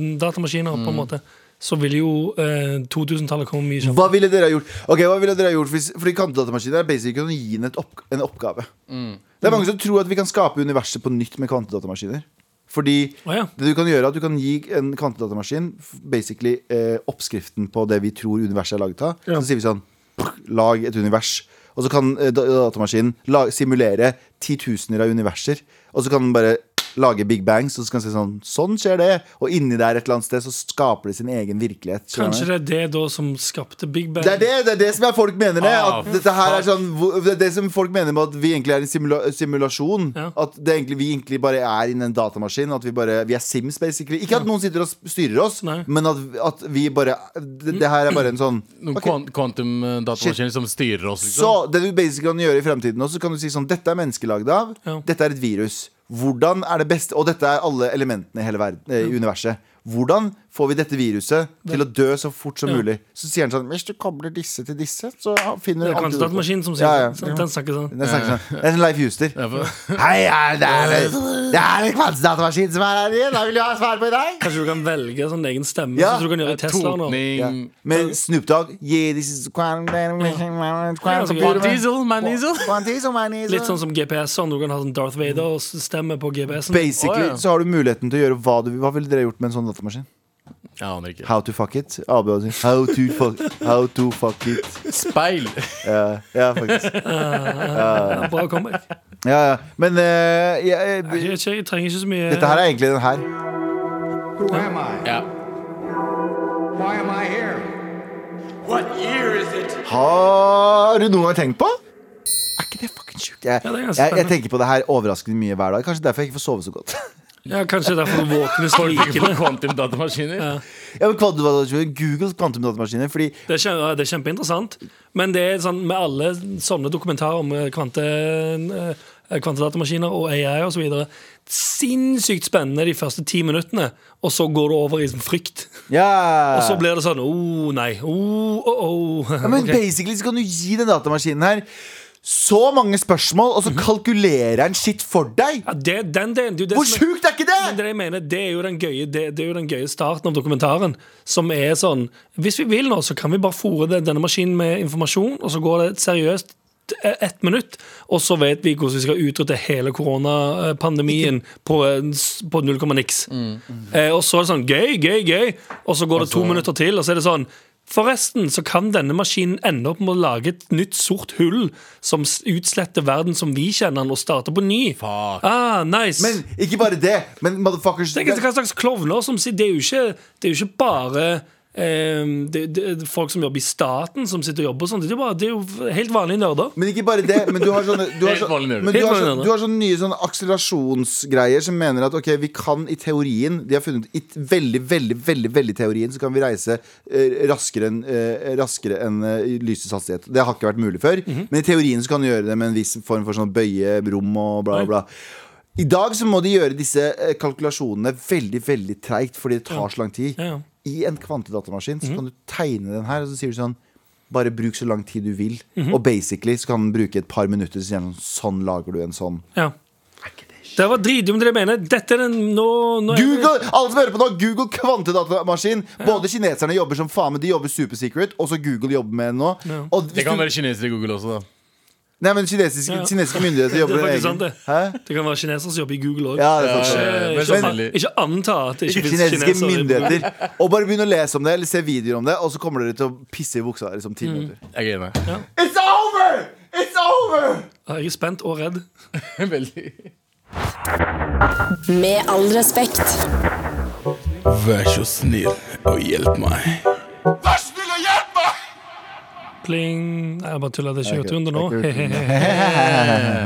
[SPEAKER 4] kvantedatamaskiner,
[SPEAKER 3] Mm.
[SPEAKER 4] på en måte, så vil jo eh, 2000-tallet komme mye kjappere.
[SPEAKER 3] Hva ville dere ha gjort? Ok, hva ville dere ha gjort hvis, Fordi kvantedatamaskiner er basically å gi den et opp, en oppgave.
[SPEAKER 4] Mm.
[SPEAKER 3] Det er mange som tror at vi kan skape universet på nytt med kvantedatamaskiner. Fordi
[SPEAKER 4] Å, ja.
[SPEAKER 3] det du kan gjøre er at du kan gi en kvantedatamaskin f- basically eh, oppskriften på det vi tror universet er laget av.
[SPEAKER 4] Ja.
[SPEAKER 3] Så sier vi sånn "Prr, Lag et univers. Og så kan eh, da- datamaskinen la- simulere titusener av universer. Og så kan den bare lage big bangs, og så kan den si sånn Sånn skjer det. Og inni der et eller annet sted så skaper de sin egen virkelighet. Skjønner du?
[SPEAKER 4] Kanskje det er det da som skapte Big Bang?
[SPEAKER 3] Det er det, det er det som er folk mener det.
[SPEAKER 5] Ah,
[SPEAKER 3] At dette her er sånn, hvor- det er det som folk mener med at vi egentlig er en simula simulasjon.
[SPEAKER 4] Ja.
[SPEAKER 3] At det egentlig, vi egentlig bare er inni en datamaskin. At vi bare, vi er Sims, basically. Ikke at noen sitter og styrer oss,
[SPEAKER 4] Nei.
[SPEAKER 3] men at, at vi bare det, det her er bare en sånn
[SPEAKER 5] Noen
[SPEAKER 3] ok.
[SPEAKER 5] okay. kvantumdatamaskiner som styrer oss, liksom?
[SPEAKER 3] Så det du basically kan gjøre i fremtiden også, så kan du si sånn Dette er menneskelagd av.
[SPEAKER 4] Ja.
[SPEAKER 3] Dette er et virus. Hvordan er det beste Og dette er alle elementene i hele verden, eh, i universet. Hvordan får vi dette viruset til å dø så fort som mulig? Så sier han sånn Hvis du kobler disse til disse, så finner du
[SPEAKER 4] Det er kandidatmaskinen som sier
[SPEAKER 3] Ja, ja.
[SPEAKER 4] sånn, Den snakker sånn.
[SPEAKER 3] Den snakker sånn. Det er en Leif Juster. Hei, er det, er
[SPEAKER 4] *laughs*
[SPEAKER 3] det, det er en kvantedatamaskin som er her igjen! Da vil jeg ha svar på i dag!
[SPEAKER 4] Kanskje du kan velge sånn egen stemme?
[SPEAKER 3] Ja.
[SPEAKER 4] Ja. Så du kan gjøre i Tesla nå.
[SPEAKER 3] Ja.
[SPEAKER 4] Mm.
[SPEAKER 5] Totning
[SPEAKER 3] Men Snoop Dogg yeah, this is
[SPEAKER 5] Van Diesel, Man Diesel.
[SPEAKER 4] altså, Litt sånn som GPS-en. Du kan ha sånn Darth Vader-stemme på GPS-en.
[SPEAKER 3] Basically
[SPEAKER 5] Å, ja.
[SPEAKER 3] så har du muligheten til å gjøre hva du vil. Hva ville dere gjort med en sånn datamaskin?
[SPEAKER 5] Jeg aner ikke.
[SPEAKER 3] How to fuck it. AB og sin. How to fuck, how to fuck it.
[SPEAKER 5] Speil. *laughs*
[SPEAKER 3] Ja, ja, faktisk.
[SPEAKER 4] Ja, bra comeback.
[SPEAKER 3] Ja, ja. Men eh, jeg, jeg,
[SPEAKER 4] Jeg, jeg trenger ikke så mye
[SPEAKER 3] dette her er egentlig den her.
[SPEAKER 7] Who am I?
[SPEAKER 5] Ja.
[SPEAKER 7] Why am I here?
[SPEAKER 3] Har du noen gang tenkt på? Er ikke det fucking sjukt? Jeg,
[SPEAKER 4] Ja, det er
[SPEAKER 3] jeg,
[SPEAKER 4] ganske
[SPEAKER 3] jeg
[SPEAKER 4] spennende.
[SPEAKER 3] tenker på det her overraskende mye hver dag. Kanskje derfor jeg ikke får sove så godt. *laughs*
[SPEAKER 4] Ja, Kanskje derfor du våkner
[SPEAKER 5] Ikke på
[SPEAKER 4] snikende.
[SPEAKER 5] kvantumdatamaskiner.
[SPEAKER 3] ja, men kvantidatamaskin- Google kvantumdatamaskiner, fordi
[SPEAKER 4] Det er, kjem, ja, det er kjempeinteressant. Men det er sånn med alle sånne dokumentarer om eh, kvante, eh, kvantedatamaskiner og AI osv. Sinnssykt spennende de første ti minuttene, og så går det over i sånn frykt.
[SPEAKER 3] Ja,
[SPEAKER 4] Og så blir det sånn oh, nei. Oh, oh, oh.
[SPEAKER 3] ja Men
[SPEAKER 4] Ok.
[SPEAKER 3] basically så kan du gi den datamaskinen her så mange spørsmål, og så
[SPEAKER 4] Mhm.
[SPEAKER 3] kalkulerer den shit for deg!
[SPEAKER 4] ja, det, den, delen, det, er jo det,
[SPEAKER 3] Hvor
[SPEAKER 4] som er-
[SPEAKER 3] sjukt er ikke det?!
[SPEAKER 4] Men det jeg mener, det er, jo den gøye, det, det er jo den gøye starten av dokumentaren, som er sånn Hvis vi vil nå, så kan vi bare fòre den- denne maskinen med informasjon, og så går det seriøst e, ett minutt, og så vet vi hvordan vi skal utrydde hele koronapandemien på, en s- på null komma niks. Eh, og så er det sånn gøy, gøy, gøy, og så går det to minutter til, og så er det sånn Forresten så kan denne maskinen ende opp med å lage et nytt sort hull som s- utsletter verden som vi kjenner den, og starter på ny.
[SPEAKER 5] Fuck.
[SPEAKER 4] Ah, nice.
[SPEAKER 3] Men ikke bare det. Men motherfuckers
[SPEAKER 4] Tenk etter hva slags klovner som sitter Det er jo ikke, det er jo ikke bare eh, det, det, det er folk som jobber i staten, som sitter og jobber og sånt. Det er jo, bare, det er jo helt vanlige nerder.
[SPEAKER 3] Men ikke bare det, men du har sånne, du har
[SPEAKER 5] Helt
[SPEAKER 3] så,
[SPEAKER 5] vanlig nerd.
[SPEAKER 3] men du
[SPEAKER 4] Helt
[SPEAKER 3] har
[SPEAKER 4] vanlig
[SPEAKER 3] så,
[SPEAKER 4] nerd.
[SPEAKER 3] du har sånne nye sånne akselerasjonsgreier som mener at ok, vi kan i teorien De har funnet i t- veldig, veldig, veldig veldig teorien så kan vi reise eh, raskere enn eh, Raskere enn eh, lysets hastighet. Det har ikke vært mulig før.
[SPEAKER 4] Mhm.
[SPEAKER 3] Men i teorien så kan du gjøre det med en viss form for sånn bøye rom og bla, bla, bla. I dag så må de gjøre disse eh, kalkulasjonene veldig veldig treigt, fordi det tar så lang tid.
[SPEAKER 4] Ja, Mhm. ja.
[SPEAKER 3] I en kvantedatamaskin så kan du tegne den her, og så sier du sånn bare bruk så lang tid du vil.
[SPEAKER 4] Mhm.
[SPEAKER 3] Og basically så kan den bruke et par minutter. Så sier den sånn, sånn lager du en sånn.
[SPEAKER 4] Ja. Det var dritdumt, det jeg mener. Dette er den nå, nå er det-
[SPEAKER 3] Google, alle som hører på nå, Google kvantedatamaskin! Både kineserne jobber som faen, men de jobber super secret. Også Google jobber med den nå. Og hvis
[SPEAKER 5] Det kan
[SPEAKER 3] du-
[SPEAKER 5] være kinesere i Google også, da.
[SPEAKER 3] Nei, men kinesiske,
[SPEAKER 4] Ja.
[SPEAKER 3] kinesiske myndigheter
[SPEAKER 4] Det
[SPEAKER 3] jobber
[SPEAKER 4] er
[SPEAKER 3] med
[SPEAKER 4] faktisk
[SPEAKER 3] egen.
[SPEAKER 4] sant, det.
[SPEAKER 3] Hæ?
[SPEAKER 4] Det kan være kinesere som jobber i Google òg.
[SPEAKER 3] Ja, det er sant.
[SPEAKER 5] men
[SPEAKER 4] ikke,
[SPEAKER 5] selvfølgelig.
[SPEAKER 4] ikke anta at det ikke finnes
[SPEAKER 3] Kinesiske
[SPEAKER 4] kinesere. i-
[SPEAKER 3] myndigheter. Og bare begynn å lese om det, eller se videoer om det, og så kommer dere til å pisse i buksa deres om
[SPEAKER 4] Mm.
[SPEAKER 3] ti minutter.
[SPEAKER 5] Jeg gleder meg.
[SPEAKER 3] It's over! It's over!
[SPEAKER 4] Ja, Jeg er spent og redd.
[SPEAKER 5] *laughs* Veldig.
[SPEAKER 6] Med all respekt.
[SPEAKER 5] Vær så snill og hjelp meg.
[SPEAKER 2] Vær snill og hjelp meg!
[SPEAKER 4] Pling. Nei, jeg bare tuller. Det er ikke
[SPEAKER 3] Det
[SPEAKER 4] runde
[SPEAKER 3] er
[SPEAKER 4] nå.
[SPEAKER 3] ikke
[SPEAKER 4] *laughs*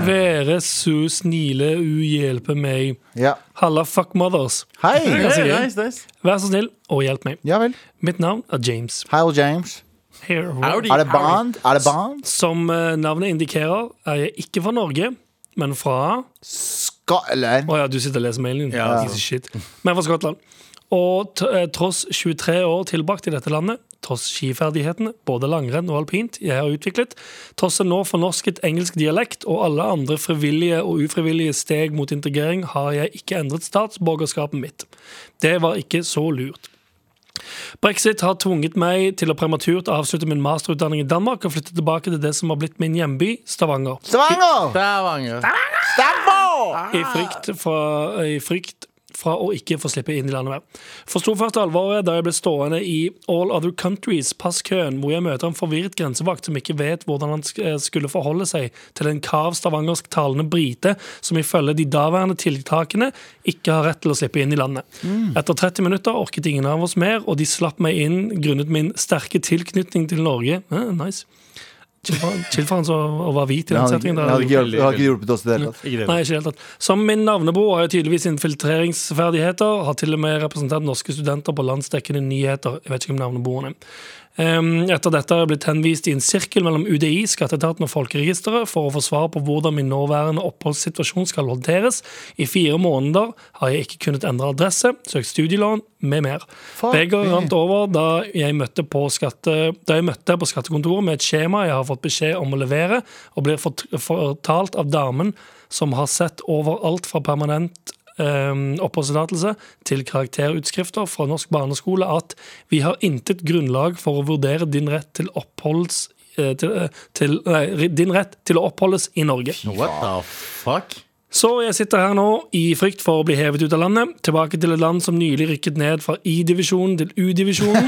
[SPEAKER 4] Være så snille, u hjelpe meg.
[SPEAKER 3] Ja.
[SPEAKER 4] Halla, fuck mothers.
[SPEAKER 3] Hei!
[SPEAKER 4] Ganske gøy.
[SPEAKER 5] nice, nice.
[SPEAKER 4] Vær så snill og hjelp meg.
[SPEAKER 3] Ja vel.
[SPEAKER 4] Mitt navn er James.
[SPEAKER 3] Hal James.
[SPEAKER 4] Here.
[SPEAKER 5] Howdy.
[SPEAKER 3] Er det Bond? Er det Bond?
[SPEAKER 4] Som eh, navnet indikerer, er jeg ikke fra Norge, men fra
[SPEAKER 3] Scotland.
[SPEAKER 4] Å ja, du sitter og leser mailen din.
[SPEAKER 5] Ja.
[SPEAKER 4] Piece of shit. Men fra Skottland. Og t eh, tross 23 år tilbrakt i dette landet, tross skiferdighetene, både langrenn og alpint, jeg har utviklet, tross en nå fornorsket engelsk dialekt og alle andre frivillige og ufrivillige steg mot integrering, har jeg ikke endret statsborgerskapet mitt. Det var ikke så lurt. Brexit har tvunget meg til å prematurt avslutte min masterutdanning i Danmark og flytte tilbake til det som har blitt min hjemby, Stavanger.
[SPEAKER 3] Stavanger!
[SPEAKER 5] Stavanger.
[SPEAKER 4] I frykt, fra, I frykt fra å ikke få slippe inn i landet mer. Forsto først alvoret da jeg ble stående i All Other Countries-passkøen, hvor jeg møter en forvirret grensevakt som ikke vet hvordan han sk- eh, skulle forholde seg til en kav stavangersktalende brite som ifølge de daværende tiltakene ikke har rett til å slippe inn i landet. Etter 30 minutter orket ingen av oss mer, og de slapp meg inn grunnet min sterke tilknytning til Norge. Eh, nice. Chill for, chill for han som var hvit
[SPEAKER 3] Det
[SPEAKER 4] i den
[SPEAKER 3] hadde ikke,
[SPEAKER 4] settingen.
[SPEAKER 3] det
[SPEAKER 4] der.
[SPEAKER 3] hadde ikke, hjulpet, det hadde ikke hjulpet oss i det hele tatt.
[SPEAKER 5] Ikke det.
[SPEAKER 4] Nei, ikke i det hele tatt. Som min navnebror har jeg tydeligvis infiltreringsferdigheter. Har til og med representert norske studenter på landsdekkende nyheter. Jeg vet ikke hvem navnebroren er. Ehm, Etter dette har jeg blitt henvist i en sirkel mellom UDI, Skatteetaten og Folkeregisteret for å få svar på hvordan min nåværende oppholdssituasjon skal håndteres. I fire måneder har jeg ikke kunnet endre adresse, søkt studielån med mer. Begge rant over da jeg, møtte på skatte, da jeg møtte på skattekontoret med et skjema jeg har fått beskjed om å levere, og blir fort- fortalt av damen som har sett over alt fra permanent um, oppholdstillatelse til karakterutskrifter fra norsk barneskole at vi har intet grunnlag for å vurdere din rett til oppholds... eh, Til, eh, til, nei, din rett til å oppholdes i Norge.
[SPEAKER 5] What the fuck?
[SPEAKER 4] Så jeg sitter her nå i frykt for å bli hevet ut av landet. Tilbake til et land som nylig rykket ned fra I-divisjonen til U-divisjonen.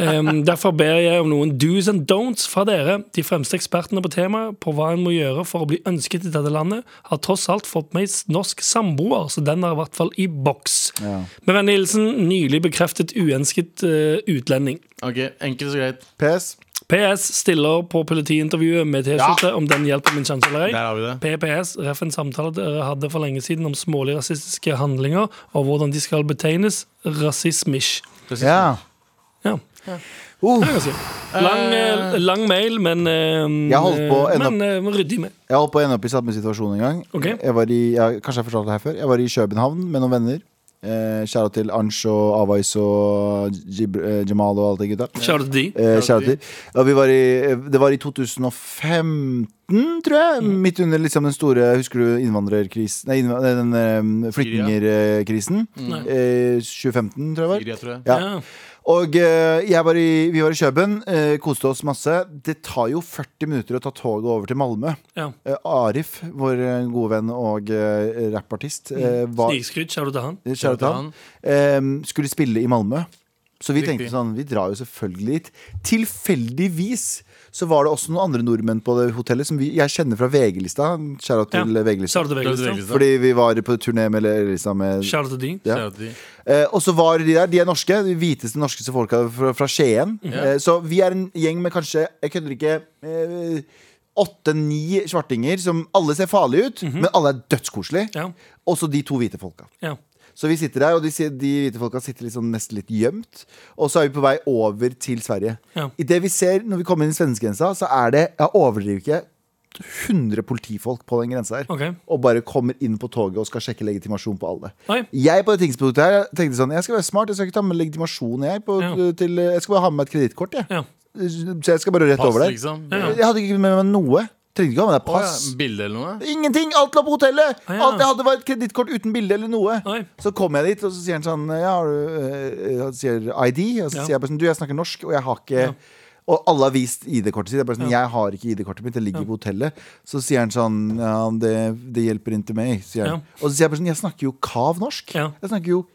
[SPEAKER 4] Em, derfor ber jeg om noen do's and don'ts fra dere, de fremste ekspertene på temaet, på hva en må gjøre for å bli ønsket i dette landet. Har tross alt fått meg norsk samboer, så den er i hvert fall i boks. Med vennlig hilsen nylig bekreftet uønsket eh, utlending.
[SPEAKER 5] Ok, Enkelt og greit.
[SPEAKER 4] Mm.
[SPEAKER 3] PS.
[SPEAKER 4] PS stiller på politiintervjuet med T-skjorte om den hjelper min sjanse eller ei.
[SPEAKER 5] Der har vi det.
[SPEAKER 4] PPS ref eh, en samtale dere hadde for lenge siden om smålige rasistiske handlinger og hvordan de skal betegnes rasismish.
[SPEAKER 3] Ja.
[SPEAKER 4] Ja.
[SPEAKER 3] Uh,
[SPEAKER 4] det kan jeg si. Lang, eh, lang mail, men, eh,
[SPEAKER 3] Jeg holdt på å ende
[SPEAKER 4] men eh, ryddig med.
[SPEAKER 3] jeg holdt på å ende opp i samme situasjon en gang.
[SPEAKER 4] Ok.
[SPEAKER 3] Jeg var i, jeg, kanskje jeg fortalte det her før. Jeg var i København med noen venner. Eh, Kjære til Ansh og Avais og Jib, eh, Jamal og alle de gutta.
[SPEAKER 4] Kjære til de.
[SPEAKER 3] Eh, Kjære til. Og vi var i, det var i 2015, tror jeg.
[SPEAKER 4] Mm.
[SPEAKER 3] Midt under liksom den store Husker du innvandrerkrisen? Nei, innva- nei, den eh, flyktningerkrisen. Eh, 2015, tror jeg var.
[SPEAKER 5] Syria, tror jeg.
[SPEAKER 3] Ja.
[SPEAKER 4] Ja.
[SPEAKER 3] Og eh, jeg var i, vi var i Kjøben, eh, koste oss masse. Det tar jo 40 minutter å ta toget over til Malmø.
[SPEAKER 4] Ja.
[SPEAKER 3] Eh, Arif, vår eh, gode venn og eh, rappartist, eh, var
[SPEAKER 4] Snikskryt. Kjære til han.
[SPEAKER 3] Kjære til han. Ehm, skulle spille i Malmö. Så vi tenkte sånn, vi drar jo selvfølgelig dit. Tilfeldigvis så var det også noen andre nordmenn på det hotellet som vi, jeg kjenner fra VG-lista. Kjære
[SPEAKER 4] Ja.
[SPEAKER 3] til VG-lista.
[SPEAKER 4] Kjære til
[SPEAKER 5] Kjære til
[SPEAKER 4] Vegelstad.
[SPEAKER 5] Vegelstad.
[SPEAKER 3] Fordi vi var på turné med Lista med
[SPEAKER 4] Kjære til de.
[SPEAKER 3] ja.
[SPEAKER 5] Kjære til de.
[SPEAKER 3] Eh, og så var de der, de er norske, de hviteste norskeste folka fra, fra Skien. Eh, så vi er en gjeng med kanskje, jeg kødder ikke, eh, åtte-ni svartinger som alle ser farlige ut, men alle er dødskoselige.
[SPEAKER 4] Ja.
[SPEAKER 3] Og så de to hvite folka.
[SPEAKER 4] Ja.
[SPEAKER 3] Så vi sitter der, og de, si- de hvite folka sitter liksom nesten litt gjemt. Og så er vi på vei over til Sverige.
[SPEAKER 4] Ja.
[SPEAKER 3] I det vi ser når vi kommer inn i svenskegrensa, så er det, jeg overdriver ikke, 100 politifolk på den grensa her.
[SPEAKER 4] Ok.
[SPEAKER 3] Og bare kommer inn på toget og skal sjekke legitimasjon på alle.
[SPEAKER 4] Oi.
[SPEAKER 3] Jeg på det tidspunktet her tenkte sånn, jeg skal være smart, jeg skal ikke ta med legitimasjon jeg. På, eh,
[SPEAKER 4] Ja.
[SPEAKER 3] til, jeg skal bare ha med meg et kreditkort, jeg.
[SPEAKER 4] Ja.
[SPEAKER 3] Så jeg skal bare rett
[SPEAKER 5] Pass,
[SPEAKER 3] over der.
[SPEAKER 5] liksom.
[SPEAKER 4] Ja.
[SPEAKER 3] Jeg hadde ikke med meg noe. Trengte ikke ha med deg
[SPEAKER 5] Pass.
[SPEAKER 3] pass.
[SPEAKER 5] Bilde eller noe?
[SPEAKER 3] Ingenting! Alt lå på hotellet!
[SPEAKER 4] Ah, ja.
[SPEAKER 3] Alt jeg hadde var et kredittkort uten bilde eller noe.
[SPEAKER 4] Oi.
[SPEAKER 3] Så kom jeg dit, og så sier han sånn Ja, har du eh, Han sier ID? Og så
[SPEAKER 4] Ja.
[SPEAKER 3] sier jeg bare sånn Du, jeg snakker norsk, og jeg har ikke Og alle har vist ID-kortet sitt. Jeg bare sånn, jeg har ikke ID-kortet mitt, det ligger på hotellet. Så sier han sånn Ja, det, det hjelper ikke meg, sier han. Og så sier jeg bare sånn Jeg snakker jo kav norsk.
[SPEAKER 4] Ja.
[SPEAKER 3] Jeg snakker jo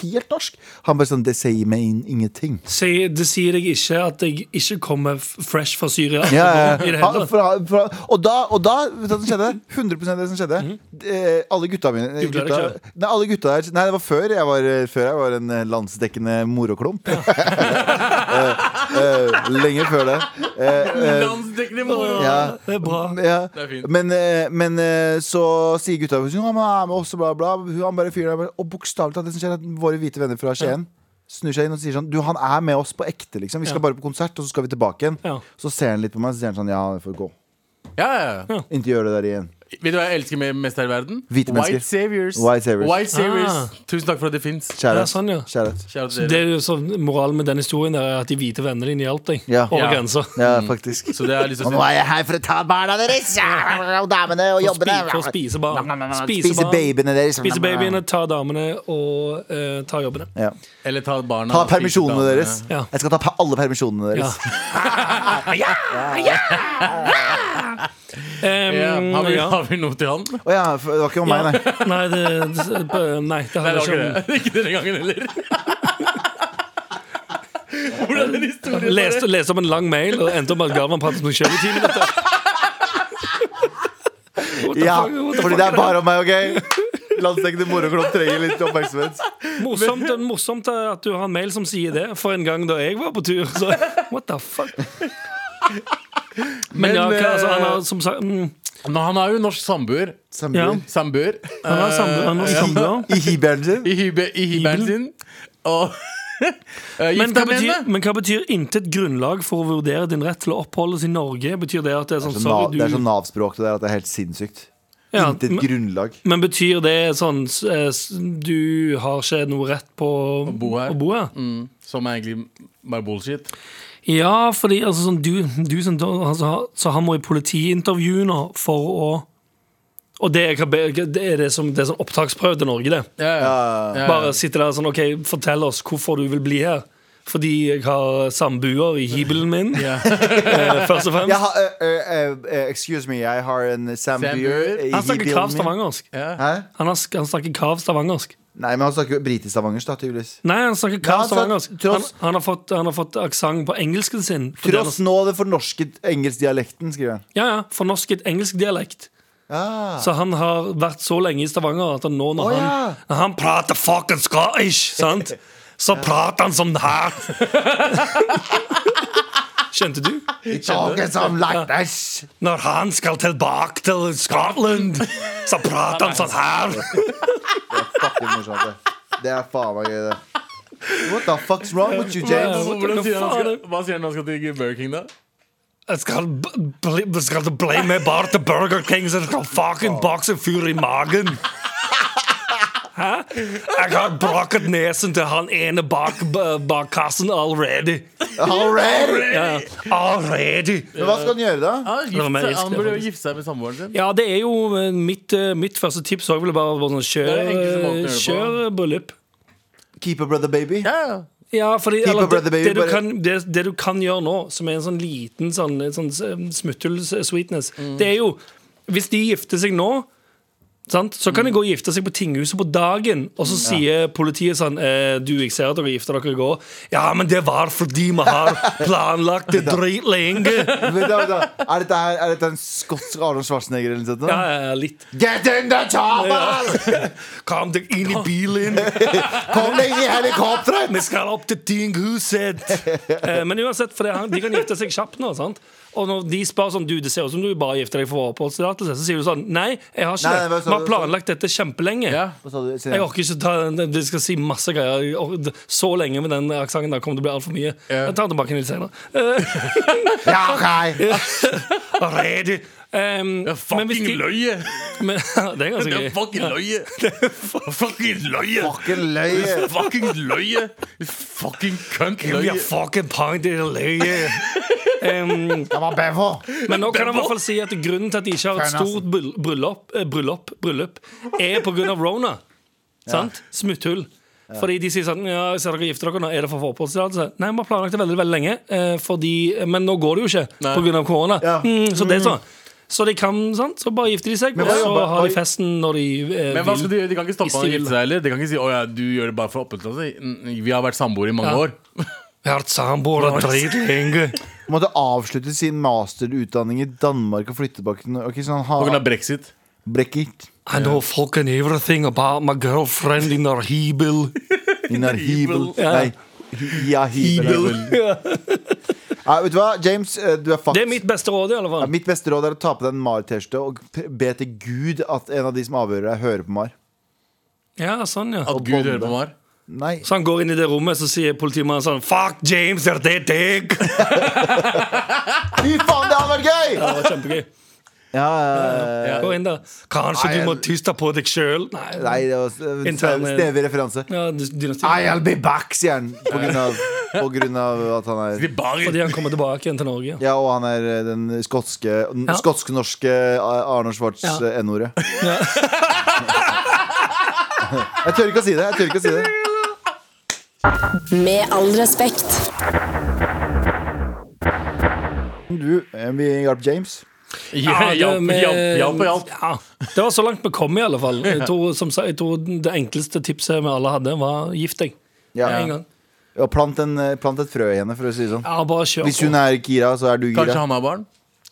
[SPEAKER 3] helt norsk. Han bare sånn Det sier meg in ingenting.
[SPEAKER 4] Si- Det sier jeg ikke at jeg ikke kommer f- fresh fra Syria.
[SPEAKER 3] Ja,
[SPEAKER 4] *laughs*
[SPEAKER 3] ja.
[SPEAKER 4] I det hele
[SPEAKER 3] Ha-
[SPEAKER 4] tatt.
[SPEAKER 3] Fra, fra, og da, og da vet du hva som skjedde? 100 det som skjedde.
[SPEAKER 4] Mhm.
[SPEAKER 3] Eh, alle gutta mine eh,
[SPEAKER 4] Googlet
[SPEAKER 3] gutta,
[SPEAKER 4] det
[SPEAKER 3] nei, alle gutta der, nei, det var før jeg var, før jeg var en eh, landsdekkende moroklump. *laughs* Eh, eh, lenge før det. Eh, eh,
[SPEAKER 5] Landsdekkende moro!
[SPEAKER 3] ja.
[SPEAKER 4] Det er bra.
[SPEAKER 3] Ja.
[SPEAKER 5] Det er fint.
[SPEAKER 3] Men, eh, men eh, så sier gutta «Ja, men han er med oss, og bla, bla. Han bare fyren der bare- Og bokstavelig talt, det som skjer, er at våre hvite venner fra Skien snur seg inn og sier sånn Du, han er med oss på ekte, liksom. Vi skal
[SPEAKER 4] Ja.
[SPEAKER 3] bare på konsert, og så skal vi tilbake igjen.
[SPEAKER 4] Ja.
[SPEAKER 3] Så ser han litt på meg, så sier han sånn Ja, det
[SPEAKER 4] *laughs*
[SPEAKER 3] får gå.
[SPEAKER 5] Ja, ja, ja.
[SPEAKER 3] Ikke gjør det der igjen.
[SPEAKER 5] Vet du hva jeg elsker med- mest her i verden?
[SPEAKER 3] Hvite mennesker.
[SPEAKER 5] White saviors.
[SPEAKER 3] White saviors.
[SPEAKER 5] White saviors.
[SPEAKER 4] Ah.
[SPEAKER 5] Tusen takk for at det fins.
[SPEAKER 3] Shout
[SPEAKER 4] Ja,
[SPEAKER 3] out.
[SPEAKER 4] sånn, ja.
[SPEAKER 3] Shout out.
[SPEAKER 5] Kjære
[SPEAKER 4] Så
[SPEAKER 5] til
[SPEAKER 4] det
[SPEAKER 5] dere.
[SPEAKER 4] er jo sånn, Moralen med den historien der er at de hvite vennene dine hjalp deg
[SPEAKER 3] Ja.
[SPEAKER 4] over
[SPEAKER 5] Ja.
[SPEAKER 4] grensa.
[SPEAKER 3] Ja, faktisk.
[SPEAKER 5] Så det er
[SPEAKER 3] Mm.
[SPEAKER 5] liksom
[SPEAKER 3] Og nå er jeg her for å ta barna deres og damene og
[SPEAKER 4] For å
[SPEAKER 3] jobbene.
[SPEAKER 4] spi- for å spise barn. Spise
[SPEAKER 3] Spise
[SPEAKER 4] barn.
[SPEAKER 3] babyene deres. Sånn,
[SPEAKER 4] Spise babyene, ta damene og eh, ta jobbene.
[SPEAKER 3] Ja.
[SPEAKER 5] Eller ta barna.
[SPEAKER 3] Ta
[SPEAKER 5] og spise
[SPEAKER 3] permisjonene
[SPEAKER 5] damene.
[SPEAKER 3] deres.
[SPEAKER 4] Ja.
[SPEAKER 3] Jeg skal ta pa- alle permisjonene
[SPEAKER 4] Ja.
[SPEAKER 3] deres.
[SPEAKER 4] Em,
[SPEAKER 5] Ja, har, vi,
[SPEAKER 4] Mm, ja.
[SPEAKER 5] har vi noe til han? Nei,
[SPEAKER 3] Å ja, for det var ikke om meg, nei.
[SPEAKER 4] *laughs* Nei, det, det- nei, det
[SPEAKER 5] det
[SPEAKER 4] handler ikke
[SPEAKER 5] var ikke
[SPEAKER 4] om
[SPEAKER 5] det. *laughs* Ikke denne gangen heller. Hvordan er historien?
[SPEAKER 4] Leste,
[SPEAKER 5] bare-
[SPEAKER 4] leste om en lang mail og endte opp med at Galvan pratet om seg selv i ti minutter.
[SPEAKER 3] *laughs* Ja, fordi det er bare om meg, OK? Landsdekkende moroklopp trenger litt oppmerksomhet.
[SPEAKER 4] Morsomt, det er morsomt at du har en mail som sier det, for en gang da jeg var på tur. Så, what the fuck? Men,
[SPEAKER 5] eh,
[SPEAKER 4] ja, hva, altså, han
[SPEAKER 3] eh,
[SPEAKER 4] har som sagt mm,
[SPEAKER 5] Men han har jo norsk samboer.
[SPEAKER 4] ja,
[SPEAKER 3] Samboer.
[SPEAKER 5] Samboer.
[SPEAKER 3] eh,
[SPEAKER 4] Han har samboer.
[SPEAKER 3] I hiberen sin.
[SPEAKER 5] I hybe- i hybelen sin. Og *laughs* Eh,
[SPEAKER 4] Men
[SPEAKER 5] Gifta
[SPEAKER 4] hva,
[SPEAKER 5] med
[SPEAKER 4] betyr,
[SPEAKER 5] henne?
[SPEAKER 4] men hva betyr intet grunnlag for å vurdere din rett til å oppholdes i Norge? Betyr det at det er sånn,
[SPEAKER 3] Så Nav,
[SPEAKER 4] sorry,
[SPEAKER 3] det er
[SPEAKER 4] du
[SPEAKER 3] sånn Nav-språk det der at det er helt sinnssykt.
[SPEAKER 4] Ja,
[SPEAKER 3] Intet
[SPEAKER 4] men-
[SPEAKER 3] grunnlag.
[SPEAKER 4] Men betyr det sånn s- eh, s- Du har ikke noe rett på å
[SPEAKER 5] bo her. Mm, som er egentlig bare bullshit.
[SPEAKER 4] Ja, fordi altså, sånn, du, du som da- altså, har- Så han må i politiintervju nå for å Og det er, hva be- det er det som det er sånn opptaksprøve til Norge, det.
[SPEAKER 5] Ja, ja. ja.
[SPEAKER 4] Bare sitte der sånn OK, fortell oss hvorfor du vil bli her. Fordi jeg har samboer i hybelen min,
[SPEAKER 5] Ja.
[SPEAKER 4] *laughs* eh, først og
[SPEAKER 3] Jeg
[SPEAKER 4] fremst.
[SPEAKER 3] har, eh, eh, eh, excuse me, jeg har en samboer
[SPEAKER 5] Samboer.
[SPEAKER 3] i
[SPEAKER 4] Han snakker
[SPEAKER 3] bilen
[SPEAKER 4] krav
[SPEAKER 3] min.
[SPEAKER 4] stavangersk.
[SPEAKER 5] Ja.
[SPEAKER 3] Hæ?
[SPEAKER 4] Han, har, han snakker krav stavangersk.
[SPEAKER 3] Nei, men han snakker jo britisk stavangersk, da, tydeligvis.
[SPEAKER 4] Nei, han snakker
[SPEAKER 3] Ja,
[SPEAKER 4] krav
[SPEAKER 3] han sa-
[SPEAKER 4] stavangersk. Han,
[SPEAKER 3] tross-
[SPEAKER 4] han har fått, han har fått aksent på engelsken sin. fordi
[SPEAKER 3] Tross
[SPEAKER 4] han,
[SPEAKER 3] nå det fornorsket engelskdialekten, skriver han.
[SPEAKER 4] ja, ja, Fornorsket engelsk dialekt.
[SPEAKER 3] Ah.
[SPEAKER 4] Så han har vært så lenge i Stavanger at han nå når
[SPEAKER 3] Å, ja.
[SPEAKER 4] han, når han prater fucking skotsk, sant? så prater han som det her. *laughs* Skjønte du?
[SPEAKER 3] Talking some like this.
[SPEAKER 4] Når han skal tilbake til Scotland, så prater han sånn her.
[SPEAKER 3] Fucking morsomt, det. Det er faen meg gøy, det. What the fuck's wrong with you, James?
[SPEAKER 5] Hvordan sier han
[SPEAKER 4] faen
[SPEAKER 5] skal, hva sier han han skal til Burger King, da?
[SPEAKER 4] Jeg skal, b- bli, skal du bli med bare til Burger King, så jeg skal fucking bokse en fyr i magen? Hæ? Jeg har brakket nesen til han ene bak, b- bak kassen allerede.
[SPEAKER 3] Alright!
[SPEAKER 4] Ja, allerede.
[SPEAKER 3] Men hva skal han gjøre, da?
[SPEAKER 5] Han,
[SPEAKER 4] var mer
[SPEAKER 5] gifte,
[SPEAKER 4] elsk,
[SPEAKER 5] han
[SPEAKER 4] det,
[SPEAKER 5] burde jo
[SPEAKER 4] faktisk.
[SPEAKER 5] gifte seg med samboeren sin.
[SPEAKER 4] Ja, det er jo eh, mitt, eh, mitt første tips òg. Bare være sånn,
[SPEAKER 5] Det er den enkleste
[SPEAKER 4] kjør,
[SPEAKER 5] måten å gjøre det på.
[SPEAKER 4] kjør eh, bryllup.
[SPEAKER 3] Keep a brother baby? *laughs*
[SPEAKER 5] Ja, ja.
[SPEAKER 4] Ja, fordi
[SPEAKER 3] Keep
[SPEAKER 4] eller,
[SPEAKER 3] up with
[SPEAKER 4] det,
[SPEAKER 3] the baby,
[SPEAKER 4] det, du
[SPEAKER 3] bare-
[SPEAKER 4] kan, det, det du kan gjøre nå, som er en sånn liten sånn, en sånn s- smutthull-sweetness,
[SPEAKER 3] Mm.
[SPEAKER 4] det er jo Hvis de gifter seg nå, sant, så
[SPEAKER 3] Mm.
[SPEAKER 4] kan de gå og gifte seg på tinghuset på dagen, og så sier politiet sånn eh, Du, jeg ser at dere gifter dere i går. Ja, men det var fordi vi
[SPEAKER 3] *laughs*
[SPEAKER 4] har planlagt det dritlenge.
[SPEAKER 3] Vent da, vent da. Er, dette her, er dette en skotsk Arnold Schwarzenegger eller noe sånt?
[SPEAKER 4] Ja,
[SPEAKER 3] da?
[SPEAKER 4] ja, litt.
[SPEAKER 3] Get in the chopper!
[SPEAKER 4] *laughs* Kom deg inn i bilen.
[SPEAKER 3] Kom deg i helikopteret!
[SPEAKER 4] Vi skal opp til tinghuset! Eh, men uansett, for det, er han- de kan gifte seg kjapt nå. sant? Og når de spør sånn, du, det ser ut som du bare gifter deg for oppholdstillatelse, så sier du sånn Nei, jeg har ikke
[SPEAKER 3] Nei, hva
[SPEAKER 4] det.
[SPEAKER 3] sa
[SPEAKER 4] Vi har
[SPEAKER 3] du?
[SPEAKER 4] planlagt dette kjempelenge.
[SPEAKER 5] Ja.
[SPEAKER 3] Hva sa du?
[SPEAKER 4] Jeg orker ikke ta den- De skal si masse greier. Jeg orker- Så lenge med den aksenten der kommer det til å bli altfor mye.
[SPEAKER 5] Ja.
[SPEAKER 4] Jeg tar den tilbake litt senere. Eh,
[SPEAKER 5] *laughs*
[SPEAKER 3] Ja,
[SPEAKER 4] *laughs*
[SPEAKER 3] ok.
[SPEAKER 4] Ready! Um,
[SPEAKER 5] Det er fucking løye!
[SPEAKER 4] men, *laughs* det er ganske
[SPEAKER 5] *laughs* Det er
[SPEAKER 4] gøy.
[SPEAKER 5] fucking løye! Fucking løye!
[SPEAKER 3] Fucking *laughs* løye.
[SPEAKER 5] Fucking løye! Fucking cunt
[SPEAKER 4] Give me a
[SPEAKER 5] løye!
[SPEAKER 4] fucking pint in the
[SPEAKER 5] *laughs*
[SPEAKER 4] leg. Um,
[SPEAKER 3] Det var Bevo.
[SPEAKER 4] Men nå kan jeg i hvert fall si at grunnen til at de ikke har et
[SPEAKER 3] Fair enough.
[SPEAKER 4] stort bryll- bryllup, eh, bryllup, bryllup er pga. rona. Sant? Smutthull. Fordi de sier sånn Ja, jeg ser dere gifter dere nå. Er det for å få oppholdstillatelse? Nei, vi har planlagt det veldig veldig lenge, eh, fordi, men nå går det jo ikke
[SPEAKER 5] Nei.
[SPEAKER 4] pga. korona.
[SPEAKER 3] Ja.
[SPEAKER 4] Mm, så det er sånn. Så de kan, sant? Så bare gifter de seg, og
[SPEAKER 3] hva
[SPEAKER 4] så
[SPEAKER 3] jobber-
[SPEAKER 4] har de
[SPEAKER 3] hva-
[SPEAKER 4] festen når de eh,
[SPEAKER 5] Men hva skal
[SPEAKER 4] vil.
[SPEAKER 5] de gjøre? De kan ikke stoppe
[SPEAKER 4] Hvis de
[SPEAKER 5] han å
[SPEAKER 4] vil.
[SPEAKER 5] gifte seg heller. De kan ikke si 'Å ja, du gjør det bare for oppholdstillatelse'. Mm, Vi har vært samboere i mange
[SPEAKER 4] Ja.
[SPEAKER 5] år.
[SPEAKER 4] Jeg har vært samboere dritlenge.
[SPEAKER 3] Måtte avslutte sin masterutdanning i Danmark og flytte tilbake til sånn, Norge. Så han
[SPEAKER 5] På grunn
[SPEAKER 3] har
[SPEAKER 5] av brexit.
[SPEAKER 3] brekket
[SPEAKER 4] I know fucking everything about my girlfriend in her hebel.
[SPEAKER 5] *laughs*
[SPEAKER 3] in our hebel.
[SPEAKER 4] Ja.
[SPEAKER 3] Nei, hi- ja, hebel.
[SPEAKER 4] *laughs*
[SPEAKER 3] Ja, vet du hva, James, eh, du er fucked.
[SPEAKER 4] Det er mitt beste råd, i alle
[SPEAKER 3] Ja,
[SPEAKER 4] fall.
[SPEAKER 3] mitt beste råd er å ta på deg en Mar-T-skjorte og p- be til Gud at en av de som avhører deg, hører på Mar.
[SPEAKER 4] Ja, sånn, ja.
[SPEAKER 5] At Gud hører på Mar.
[SPEAKER 3] Nei.
[SPEAKER 4] Så han går inn i det rommet, så sier politimannen sånn Fuck James, er det deg? *laughs* Det
[SPEAKER 3] Fy faen, det hadde vært gøy!
[SPEAKER 4] var kjempegøy.
[SPEAKER 3] Ja, ja, ja.
[SPEAKER 4] Gå inn der. Kanskje
[SPEAKER 3] Nei,
[SPEAKER 4] du må
[SPEAKER 3] jeg-
[SPEAKER 4] tyste på deg sjøl? Nei.
[SPEAKER 3] Nei, det var eh,
[SPEAKER 4] Intern-
[SPEAKER 3] snevig referanse.
[SPEAKER 4] Ja, dy- dynasti.
[SPEAKER 3] I'll be back, sier han. På grunn av, på grunn av at han er
[SPEAKER 5] De bare
[SPEAKER 4] Fordi han kommer tilbake igjen til Norge.
[SPEAKER 3] Ja, og han er eh, den skotske n-
[SPEAKER 4] Ja.
[SPEAKER 3] skotsk-norske Ar- Arnold Schwartz
[SPEAKER 4] Ja.
[SPEAKER 3] eh, N-ordet.
[SPEAKER 4] Ja.
[SPEAKER 3] Jeg tør ikke å si det. jeg tør ikke å si det
[SPEAKER 6] Med all respekt.
[SPEAKER 3] Du, eh, vi hjalp James.
[SPEAKER 5] Ja,
[SPEAKER 4] det
[SPEAKER 5] Hjalp
[SPEAKER 4] med-
[SPEAKER 5] hjalp, hjalp og hjalp.
[SPEAKER 4] Ja, det var så langt vi kom, i alle fall. Jeg tror, som sagt, jeg tror det enkleste tipset vi alle hadde, var gift deg.
[SPEAKER 3] Ja.
[SPEAKER 4] Med en gang.
[SPEAKER 3] Og plant, en, eh, plant et frø i henne, for å si det sånn.
[SPEAKER 4] Ja, bare kjør
[SPEAKER 3] Hvis hun
[SPEAKER 4] på.
[SPEAKER 3] er Kira, så er du
[SPEAKER 5] Kanskje
[SPEAKER 3] Gira.
[SPEAKER 5] han har barn.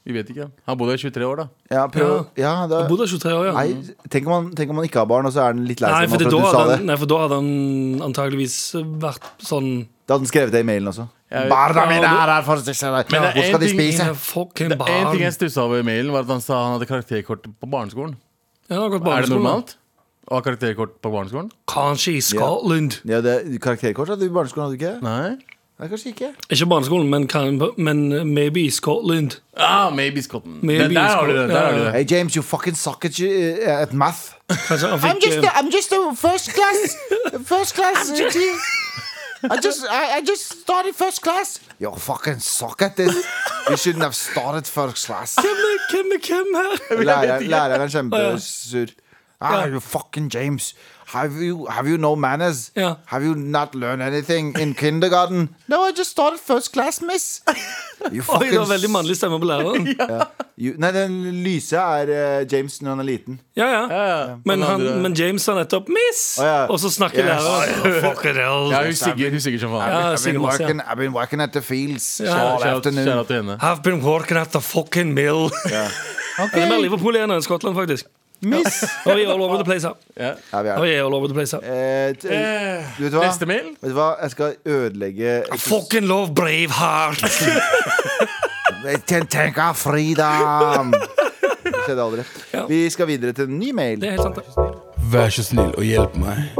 [SPEAKER 5] Vi vet ikke. Han bodde i 23 år, da.
[SPEAKER 3] Ja, prøv ja, da,
[SPEAKER 4] Jeg bodde 23 år, ja.
[SPEAKER 3] nei, tenk, om han, tenk om han ikke har barn, og så er han litt lei
[SPEAKER 4] Nei,
[SPEAKER 3] seg nå
[SPEAKER 4] for, det,
[SPEAKER 3] for
[SPEAKER 4] da
[SPEAKER 3] at du sa
[SPEAKER 4] hadde, han-
[SPEAKER 3] det.
[SPEAKER 4] nei, for da hadde han antageligvis vært sånn
[SPEAKER 3] Da hadde han skrevet det i mailen også.
[SPEAKER 5] Jeg-
[SPEAKER 3] Barna mine
[SPEAKER 4] Ja,
[SPEAKER 3] er her for å stikke seg der.
[SPEAKER 5] Men det er
[SPEAKER 3] Hvor
[SPEAKER 5] en
[SPEAKER 3] skal de
[SPEAKER 5] ting-
[SPEAKER 3] spise?
[SPEAKER 4] «Mine Fucking
[SPEAKER 5] Det er En
[SPEAKER 4] barn.
[SPEAKER 5] ting jeg stussa over i mailen, var at han sa han hadde karakterkort på barneskolen.
[SPEAKER 4] Ja, det har gått
[SPEAKER 5] Er det
[SPEAKER 4] barneskole.
[SPEAKER 5] normalt? Og har karakterkort på barneskolen?
[SPEAKER 4] Kanskje i Scotland.
[SPEAKER 3] Ja, det, karakterkort hadde du i barneskolen, hadde du ikke?
[SPEAKER 5] Nei.
[SPEAKER 3] Nei, kanskje ikke.
[SPEAKER 4] Ikke barneskolen, men, kan, men maybe i Scotland.
[SPEAKER 5] Ah, maybe Scotland.
[SPEAKER 4] Maybe
[SPEAKER 5] der, der har du det.
[SPEAKER 4] Scotland,
[SPEAKER 5] Der har
[SPEAKER 4] ja,
[SPEAKER 5] du
[SPEAKER 4] ja.
[SPEAKER 5] det.
[SPEAKER 3] Hey James, you fucking suck at, you- eh, at math.
[SPEAKER 4] Kanskje han fikk eh,
[SPEAKER 3] I'm just a first class First class I just, I, just started first class You fucking suck at this You shouldn't have started first class
[SPEAKER 4] Hvem er hvem, er, hvem her? *laughs*
[SPEAKER 3] Læreren, læreren er kjempesur Ah, you fucking James Have you, have you no manners?
[SPEAKER 4] Ja.
[SPEAKER 3] Have you not learned anything in
[SPEAKER 4] *laughs*
[SPEAKER 3] kindergarten? No, I just started first class, miss *laughs* You
[SPEAKER 4] Oi, det
[SPEAKER 3] fucking
[SPEAKER 4] var veldig mannlig stemme på læreren.
[SPEAKER 3] you, Nei, den lyse er eh, James når han er liten
[SPEAKER 4] Ja, ja.
[SPEAKER 5] Ja,
[SPEAKER 4] Men, han,
[SPEAKER 5] andre-
[SPEAKER 4] men James sa nettopp 'miss',
[SPEAKER 3] Å, ja.
[SPEAKER 4] og så snakker
[SPEAKER 3] Yes.
[SPEAKER 4] læreren. Fucker hell.
[SPEAKER 5] ja, hun sigger, hun sigger som faen.
[SPEAKER 4] Ja,
[SPEAKER 3] I've been
[SPEAKER 4] sikkert masse, ja.
[SPEAKER 3] working, I've been working at the fields
[SPEAKER 4] Ja,
[SPEAKER 3] all afternoon
[SPEAKER 5] Kjære til henne.
[SPEAKER 4] I've been working at the fucking mill. Det er mer Liverpool igjen enn Skottland, faktisk.
[SPEAKER 3] Miss
[SPEAKER 4] Og vi er all over the place her.
[SPEAKER 5] Ja.
[SPEAKER 3] Ja, vi er
[SPEAKER 4] Og vi er all over the place her.
[SPEAKER 3] Eh, t- du vet hva?
[SPEAKER 5] Neste mail?
[SPEAKER 3] Vet du hva? Jeg skal ødelegge
[SPEAKER 4] Ah, Fucking love Braveheart!
[SPEAKER 3] Ten- Tenk av
[SPEAKER 4] *laughs*
[SPEAKER 3] freedom! Det skjedde aldri.
[SPEAKER 4] Ja.
[SPEAKER 3] Vi skal videre til en ny mail.
[SPEAKER 4] Det er helt sant. det.
[SPEAKER 8] Vær så snill og hjelp meg.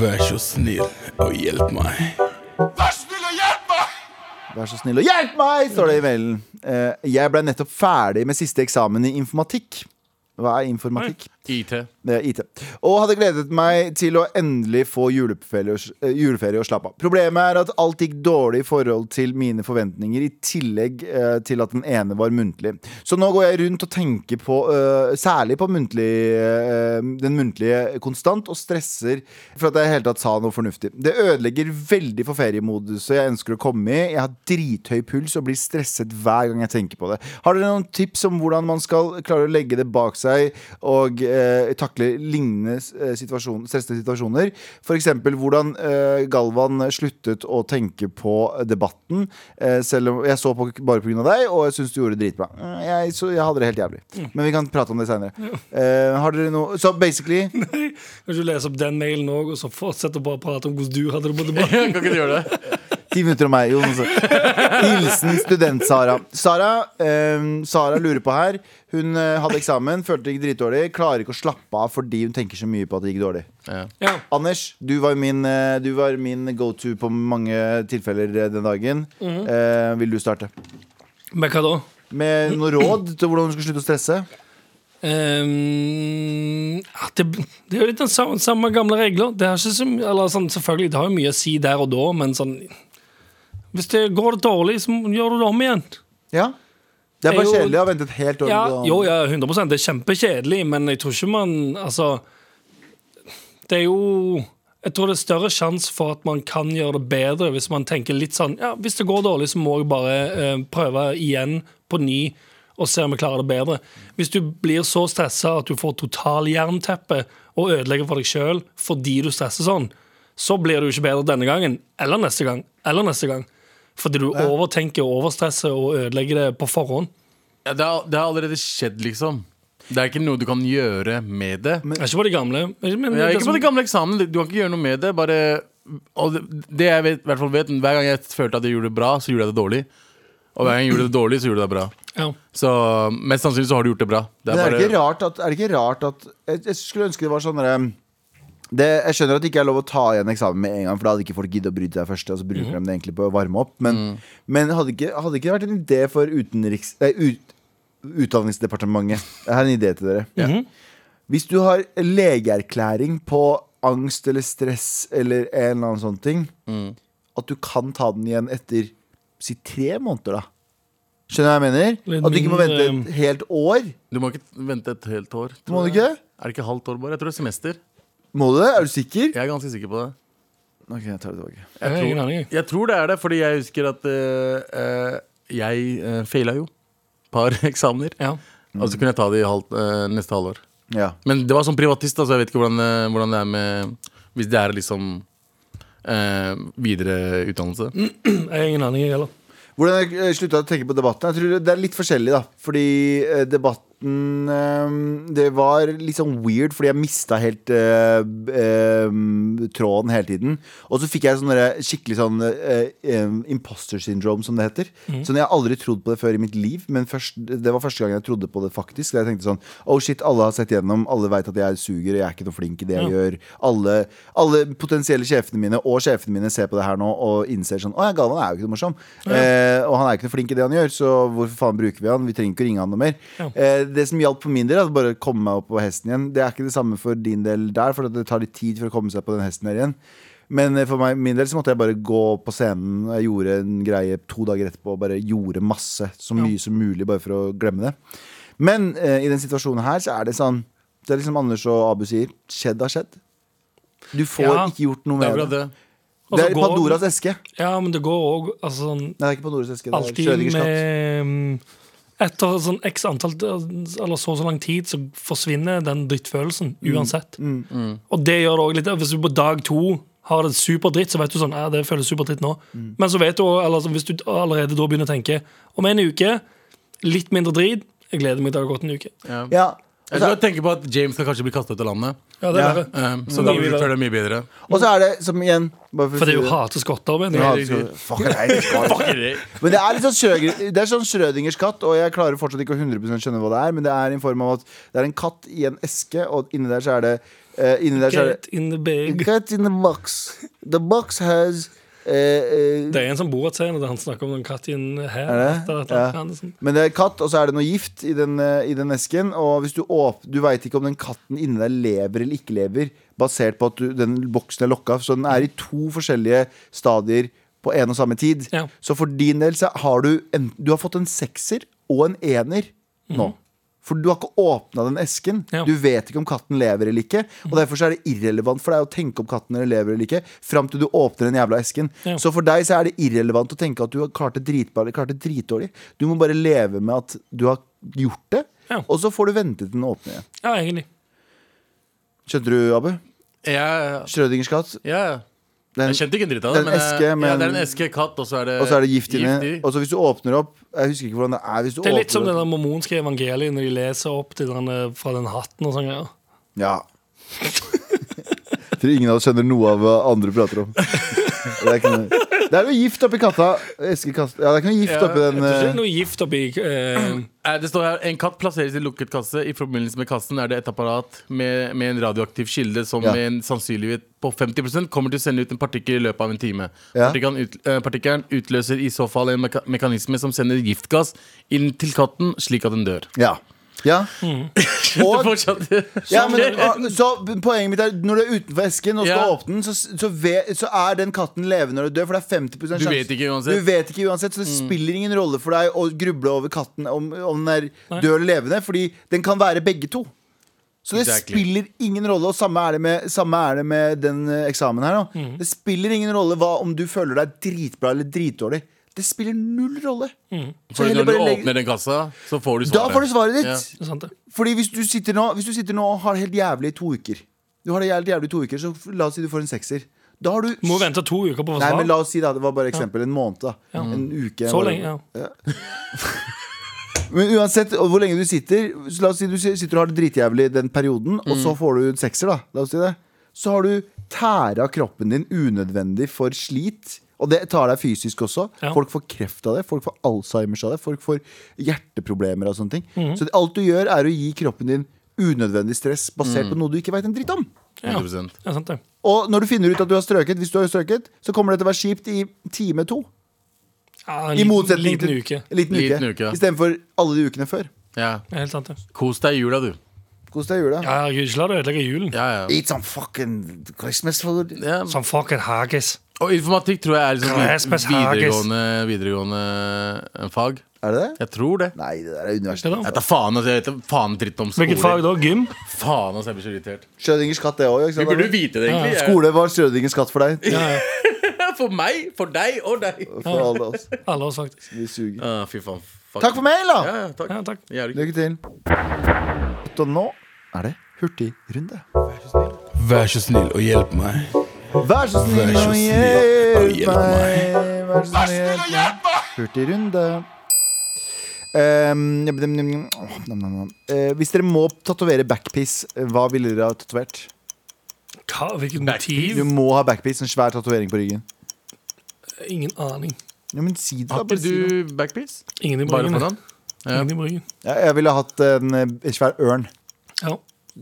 [SPEAKER 8] Vær så snill og hjelp meg.
[SPEAKER 2] Vær snill og hjelp meg!
[SPEAKER 3] Vær så snill og hjelp meg, står det i mailen. Eh, jeg ble nettopp ferdig med siste eksamen i informatikk. Hva er informatikk?
[SPEAKER 5] IT.
[SPEAKER 3] Det er IT. Og hadde gledet meg til å endelig få juleferie og, eh, juleferie og slappe av. Problemet er at alt gikk dårlig i forhold til mine forventninger, i tillegg eh, til at den ene var muntlig. Så nå går jeg rundt og tenker på, eh, særlig på muntlig, eh, den muntlige konstant, og stresser for at jeg i hele tatt sa noe fornuftig. Det ødelegger veldig for feriemoduset jeg ønsker å komme i. Jeg har drithøy puls og blir stresset hver gang jeg tenker på det. Har dere noen tips om hvordan man skal klare å legge det bak seg og eh, takle lignende eh, situasjon, stressende situasjoner? F.eks. hvordan eh, Galvan sluttet å tenke på debatten. Eh, selv om jeg så på bare pga. deg, og jeg syns du gjorde det dritbra. Eh, Jeg, så, jeg hadde det helt jævlig. Men vi kan prate om det seinere. Eh, har dere noe Så basically
[SPEAKER 4] Kan ikke du lese opp den mailen òg, og så fortsette å bare prate om hvordan du hadde det på
[SPEAKER 5] Ja,
[SPEAKER 4] debatten?
[SPEAKER 5] Kan ikke du gjøre det?
[SPEAKER 3] Ti minutter om meg, Jonas. Hilsen student-Sara. Sara, ehm, Sara lurer på her. Hun eh, hadde eksamen, følte det gikk dritdårlig. Klarer ikke å slappe av fordi hun tenker så mye på at det gikk dårlig.
[SPEAKER 4] Ja.
[SPEAKER 3] Anders, du var min, eh, du var min go-to på mange tilfeller eh, den dagen.
[SPEAKER 4] Mhm.
[SPEAKER 3] Eh, vil du starte?
[SPEAKER 4] Men hva da?
[SPEAKER 3] Med noe råd til hvordan hun skal slutte å stresse?
[SPEAKER 4] Ehm, ja, det, det er jo litt den samme, samme gamle regler. Det er ikke så, my- eller sånn, selvfølgelig, det har jo mye å si der og da, men sånn Hvis det går dårlig, så gjør du det om igjen.
[SPEAKER 3] Ja? Det er
[SPEAKER 4] Jeg
[SPEAKER 3] bare
[SPEAKER 4] jo-
[SPEAKER 3] kjedelig å ha ventet et helt år.
[SPEAKER 4] Ja,
[SPEAKER 3] med det.
[SPEAKER 4] jo, ja, 100 Det er kjempekjedelig, men jeg tror ikke man Altså, det er jo Jeg tror det er større sjanse for at man kan gjøre det bedre hvis man tenker litt sånn Ja, hvis det går dårlig, så må jeg bare eh, prøve igjen på ny og se om jeg klarer det bedre. Hvis du blir så stressa at du får total jernteppe og ødelegger for deg sjøl fordi du stresser sånn, så blir det jo ikke bedre denne gangen eller neste gang eller neste gang. Fordi du overtenker og overstresser og ødelegger det på forhånd.
[SPEAKER 5] Ja, det, har, det har allerede skjedd, liksom. Det er ikke noe du kan gjøre med det.
[SPEAKER 4] Det er Ikke på de gamle. Men men
[SPEAKER 5] Ja,
[SPEAKER 4] det
[SPEAKER 5] ikke
[SPEAKER 4] som-
[SPEAKER 5] på den gamle eksamen. Du kan ikke gjøre noe med det. Bare, og det, det jeg vet, i hvert fall vet, hver gang jeg følte at jeg gjorde det bra, så gjorde jeg det dårlig. Og hver gang jeg gjorde det dårlig, så gjorde jeg det bra.
[SPEAKER 4] Ja.
[SPEAKER 5] Så mest sannsynlig så har du gjort det bra. Det
[SPEAKER 3] Men
[SPEAKER 5] er
[SPEAKER 3] er, det
[SPEAKER 5] bare,
[SPEAKER 3] ikke rart at, er det ikke rart at jeg, jeg skulle ønske det var sånn derre- det, Jeg skjønner at det ikke er lov å ta igjen eksamen med en gang, for da hadde ikke folk giddet å bry seg først. Og så
[SPEAKER 5] Mhm.
[SPEAKER 3] bruker de det egentlig på å varme opp Men,
[SPEAKER 5] Mm.
[SPEAKER 3] men hadde, ikke, hadde ikke det vært en idé for utenriks, eh, ut, Utdanningsdepartementet? Jeg har en idé til dere.
[SPEAKER 4] Mhm.
[SPEAKER 3] Hvis du har legeerklæring på angst eller stress eller en eller annen sånn ting,
[SPEAKER 5] Mm.
[SPEAKER 3] at du kan ta den igjen etter si tre måneder, da. Skjønner du hva jeg
[SPEAKER 4] Litt
[SPEAKER 3] mener? At du ikke må vente
[SPEAKER 4] mindre-
[SPEAKER 3] et helt år.
[SPEAKER 5] du må ikke vente et helt år. tror
[SPEAKER 3] Må du
[SPEAKER 5] jeg.
[SPEAKER 3] ikke?
[SPEAKER 5] Er det ikke halvt år, bare? Jeg tror det er semester.
[SPEAKER 3] Må du det? Er du sikker?
[SPEAKER 5] Jeg er ganske sikker på det.
[SPEAKER 3] Ok, jeg tar det tilbake.
[SPEAKER 4] Jeg har ingen aning.
[SPEAKER 5] Jeg tror det er det, fordi jeg husker at eh, eh, jeg uh, feila jo et par *laughs* eksamener.
[SPEAKER 4] Ja.
[SPEAKER 5] Og så kunne jeg ta det i halvt, eh, neste halvår.
[SPEAKER 3] Ja.
[SPEAKER 5] Men det var som privatist, altså, jeg vet ikke hvordan, eh, hvordan det er med Hvis det er liksom eh, videre utdannelse.
[SPEAKER 3] Mm.
[SPEAKER 4] Jeg har ingen aning, jeg heller.
[SPEAKER 3] Hvordan jeg eh, slutta å tenke på debatten? Jeg tror det er litt forskjellig, da. Fordi eh, debatten liten eh, Det var litt sånn weird, fordi jeg mista helt eh, b- eh, tråden hele tiden. Og så fikk jeg sånn derre skikkelig sånn eh, eh, imposter syndrome, som det heter. Sånn, Jeg har aldri trodd på det før i mitt liv, men først, det var første gang jeg trodde på det faktisk. Da Jeg tenkte sånn Oh shit, alle har sett gjennom, alle veit at jeg suger, jeg er ikke noe flink i det jeg gjør. Alle, alle potensielle sjefene mine og sjefene mine ser på det her nå og innser sånn Å ja, Galvan er jo ikke noe morsom. Eh, og han er ikke noe flink i det han gjør, så hvorfor faen bruker vi han? Vi trenger ikke å ringe han noe mer. Eh, det som hjalp for min del, er at bare å komme meg opp på hesten igjen. Det er ikke det samme for din del der, for at det tar litt tid for å komme seg på den hesten her igjen. Men eh, for meg, min del så måtte jeg bare gå på scenen. Jeg gjorde en greie to dager etterpå og bare gjorde masse. Så mye som mulig, bare for å glemme det. Men eh, i den situasjonen her så er det sånn Det er liksom Anders og Abu sier. Skjedd har skjedd. Du får
[SPEAKER 4] Ja.
[SPEAKER 3] ikke gjort noe
[SPEAKER 5] Det er
[SPEAKER 3] med
[SPEAKER 5] akkurat
[SPEAKER 3] det.
[SPEAKER 5] det.
[SPEAKER 4] Og
[SPEAKER 3] Det
[SPEAKER 4] så
[SPEAKER 3] er
[SPEAKER 4] går-
[SPEAKER 3] Pandoras eske.
[SPEAKER 4] Ja, men det går òg altså, sånn,
[SPEAKER 3] Nei, det er ikke Pandoras eske. Det er
[SPEAKER 4] Alltid
[SPEAKER 3] Schrødingers katt.
[SPEAKER 4] med mm, Etter sånn x antall Eller så og så lang tid, så forsvinner den drittfølelsen uansett. Og det gjør det også litt Hvis du på dag to har det superdritt, så vet du sånn, ja, det føles superdritt nå. Men så vet du, eller altså, hvis du allerede da begynner å tenke om en uke, litt mindre drit, jeg gleder meg til det har gått en uke.
[SPEAKER 3] Ja.
[SPEAKER 5] Jeg tror jeg tenker på at James skal kanskje bli kastet ut av landet.
[SPEAKER 4] Ja, det
[SPEAKER 3] Ja.
[SPEAKER 4] er det.
[SPEAKER 5] Um,
[SPEAKER 3] Mm.
[SPEAKER 5] så da
[SPEAKER 4] Mye
[SPEAKER 5] vil du
[SPEAKER 4] bedre.
[SPEAKER 5] føle deg mye bedre.
[SPEAKER 3] Og så er det, som igjen bare å
[SPEAKER 4] For det er
[SPEAKER 3] si
[SPEAKER 4] jo hater skotter. Men,
[SPEAKER 3] Ja,
[SPEAKER 4] ja.
[SPEAKER 3] det skal- Fuck, nei, det skal-
[SPEAKER 5] Nei,
[SPEAKER 3] Men det er litt sånn, Schrødinger- det er sånn Schrødingers katt, og jeg klarer fortsatt ikke å 100 skjønne hva det er, men det er i form av at det er en katt i en eske, og inni der så er det eh, Inni der så er
[SPEAKER 4] Get in the
[SPEAKER 3] det
[SPEAKER 4] bag.
[SPEAKER 3] Cat in the box. The box has eh, eh,
[SPEAKER 4] Det er en som bor et sted, og han snakker om den katten her.
[SPEAKER 3] Er det?
[SPEAKER 4] etter et
[SPEAKER 3] Ja.
[SPEAKER 4] eller annet. Ja, det er sånn.
[SPEAKER 3] Men det er katt, og så er det noe gift i den, eh, i den esken. Og hvis du, åp du veit ikke om den katten inni deg lever eller ikke lever, basert på at du, den boksen er lokka. Så den er i to forskjellige stadier på en og samme tid.
[SPEAKER 4] Ja.
[SPEAKER 3] Så for din del så har du en, Du har fått en sekser og en ener nå. For du har ikke åpna den esken.
[SPEAKER 4] Mhm. Ja.
[SPEAKER 3] Du vet ikke om katten lever eller ikke. Og derfor så er det irrelevant for deg å tenke om katten lever eller ikke, fram til du åpner den jævla esken.
[SPEAKER 4] Ja.
[SPEAKER 3] Så for deg så er det irrelevant å tenke at du har klart det dritbra eller klart det dritdårlig. Du må bare leve med at du har gjort det,
[SPEAKER 4] Ja.
[SPEAKER 3] og så får du vente til den åpner igjen.
[SPEAKER 4] ja, egentlig.
[SPEAKER 3] Skjønte du, Abu?
[SPEAKER 5] ja,
[SPEAKER 3] Schrødingers katt.
[SPEAKER 5] ja.
[SPEAKER 3] Den-
[SPEAKER 5] Jeg skjønte ikke en dritt av
[SPEAKER 3] det
[SPEAKER 5] det.
[SPEAKER 3] er en eske,
[SPEAKER 5] eh, ja,
[SPEAKER 3] men-
[SPEAKER 5] det er en eske, katt, og så er det,
[SPEAKER 3] Og så er det gift inni.
[SPEAKER 5] i.
[SPEAKER 3] Og så hvis du åpner opp Jeg husker ikke hvordan det er. Hvis du
[SPEAKER 4] eh, Det er litt som
[SPEAKER 3] åpner
[SPEAKER 4] det
[SPEAKER 3] opp-
[SPEAKER 4] der mormonske evangeliet når de leser opp til den, eh, fra den hatten og sånn. Ja.
[SPEAKER 3] Ja. Jeg tror ingen av oss skjønner noe av hva andre prater om. Det er, ikke noe, det er noe gift oppi katta. Eskekast. Ja, det er ikke noe gift
[SPEAKER 5] Ja,
[SPEAKER 3] oppi den
[SPEAKER 4] Det er ikke
[SPEAKER 3] eh,
[SPEAKER 4] noe gift oppi eh,
[SPEAKER 5] Eh, Det står her En katt plasseres i lukket kasse. I forbindelse med kassen er det et apparat med, med en radioaktiv kilde som
[SPEAKER 3] Ja.
[SPEAKER 5] med en sannsynlighet på 50 kommer til å sende ut en partikkel i løpet av en time.
[SPEAKER 3] Ja.
[SPEAKER 5] Partikkelen, ut, eh, partikkelen utløser i så fall en meka mekanisme som sender giftgass inn til katten, slik at den dør.
[SPEAKER 3] Ja. ja.
[SPEAKER 5] Det
[SPEAKER 3] *laughs*
[SPEAKER 5] *laughs*
[SPEAKER 3] Og,
[SPEAKER 5] fortsatt-
[SPEAKER 3] ja
[SPEAKER 5] *laughs*
[SPEAKER 3] men, og- så poenget mitt er når du er utenfor esken og skal
[SPEAKER 5] Ja.
[SPEAKER 3] åpne den, så, så, ve- så er den katten levende når du dør, for det er 50 sjanse.
[SPEAKER 5] Du vet ikke uansett. Mm.
[SPEAKER 3] Du vet ikke uansett, Så det spiller ingen rolle for deg å gruble over katten om, om den er død eller levende, fordi den kan være begge to. Så det
[SPEAKER 5] Exactly.
[SPEAKER 3] spiller ingen rolle, og samme er det med, samme er det med den eh, eksamen her nå. Det spiller ingen rolle hva om du føler deg dritbra eller dritdårlig. Det spiller null rolle. Så
[SPEAKER 5] Fordi
[SPEAKER 3] heller
[SPEAKER 5] når du
[SPEAKER 3] bare legg-
[SPEAKER 5] åpner den kassa, så får du svaret.
[SPEAKER 3] Da får du svaret ditt.
[SPEAKER 5] Ja.
[SPEAKER 4] det er sant det.
[SPEAKER 3] Fordi hvis du sitter nå Hvis du sitter nå og har det helt jævlig i to uker Du har det helt jævlig i to uker Så f- la oss si du får en sekser Da har du
[SPEAKER 4] Må vente to uker på å få
[SPEAKER 3] Nei, men
[SPEAKER 4] svar.
[SPEAKER 3] la oss si da Det var bare eksempel En måned da En uke
[SPEAKER 4] Så
[SPEAKER 3] bare-
[SPEAKER 4] lenge, ja.
[SPEAKER 3] Men uansett og hvor lenge du sitter så La oss si du si- sitter og har det dritjævlig den perioden Og
[SPEAKER 4] Mm.
[SPEAKER 3] så får du en sekser da La oss si det Så har du tæra kroppen din unødvendig for slit og det tar deg fysisk også
[SPEAKER 4] Ja.
[SPEAKER 3] Folk får kreft av det, folk får Alzheimers av det Folk får hjerteproblemer og sånne ting
[SPEAKER 4] Mm.
[SPEAKER 3] Så alt du gjør er å gi kroppen din Unødvendig stress basert
[SPEAKER 4] Mm.
[SPEAKER 3] på noe du ikke vet en dritt om
[SPEAKER 5] 100%.
[SPEAKER 4] Det er sant det.
[SPEAKER 3] Og når du finner ut at du har strøket, hvis du har strøket, så kommer det til å være kjipt i time to.
[SPEAKER 4] Ja, en
[SPEAKER 3] I
[SPEAKER 4] liten-
[SPEAKER 3] motsetning
[SPEAKER 4] liten
[SPEAKER 3] til
[SPEAKER 4] uke.
[SPEAKER 3] liten uke.
[SPEAKER 5] Liten uke.
[SPEAKER 3] Istedenfor alle de ukene før.
[SPEAKER 5] Ja.
[SPEAKER 4] Det er helt sant det.
[SPEAKER 5] Kos deg i jula, du.
[SPEAKER 3] Kos deg i jula.
[SPEAKER 4] Ja, herregud, ikke la det ødelegge julen.
[SPEAKER 5] Ja, ja.
[SPEAKER 3] Eat some fucking Christmas food.
[SPEAKER 5] ja.
[SPEAKER 4] Som fucking haggis.
[SPEAKER 5] Og informatikk tror jeg er liksom
[SPEAKER 4] Christmas haggis.
[SPEAKER 5] videregående, videregående eh, fag.
[SPEAKER 3] Er det det?
[SPEAKER 5] Jeg tror det.
[SPEAKER 3] Nei, det der er
[SPEAKER 4] Det
[SPEAKER 3] universelt.
[SPEAKER 4] da.
[SPEAKER 5] Jeg vet da faen, altså, jeg vet da faen dritt om skole.
[SPEAKER 4] Hvilket fag da? Gym?
[SPEAKER 5] Faen, altså, jeg blir så irritert.
[SPEAKER 3] Schrødingers katt, det òg.
[SPEAKER 5] Du burde vite det, egentlig. Jeg-
[SPEAKER 3] Skole var Schrødingers katt for deg.
[SPEAKER 4] Ja, ja.
[SPEAKER 5] *laughs* For meg, for deg og deg.
[SPEAKER 3] For alle oss.
[SPEAKER 4] Alle oss, faktisk.
[SPEAKER 3] Vi suger.
[SPEAKER 5] Ah, fy faen. Fuck.
[SPEAKER 3] Takk for mail, da!
[SPEAKER 5] Ja, ja, takk.
[SPEAKER 4] Ja, takk.
[SPEAKER 5] Jævlig.
[SPEAKER 3] Lykke til. Og nå er det hurtigrunde.
[SPEAKER 8] Vær så snill og hjelp meg.
[SPEAKER 3] Vær så snill
[SPEAKER 8] Vær så
[SPEAKER 3] og
[SPEAKER 8] snill
[SPEAKER 3] hjelp
[SPEAKER 8] og hjelp
[SPEAKER 3] meg. Vær så snill og hjelp meg. Hurtigrunde. Ehm, jam, jam, jam, åh, nam, nam, nam. Eh, hvis dere må tatovere backpiece, hva ville dere ha tatovert?
[SPEAKER 4] Hva, hvilket motiv?
[SPEAKER 3] Du må ha backpiece, en svær tatovering på ryggen.
[SPEAKER 4] Ingen aning.
[SPEAKER 3] Ja, men si det, da.
[SPEAKER 5] Har
[SPEAKER 3] Bare
[SPEAKER 5] ikke
[SPEAKER 3] si det.
[SPEAKER 5] du backpiece?
[SPEAKER 4] Ingen i
[SPEAKER 5] Bare
[SPEAKER 4] bryggen.
[SPEAKER 5] for den? Ja.
[SPEAKER 4] Ingen i bryggen.
[SPEAKER 3] Ja, jeg ville hatt en, eh, en svær ørn.
[SPEAKER 4] Ja.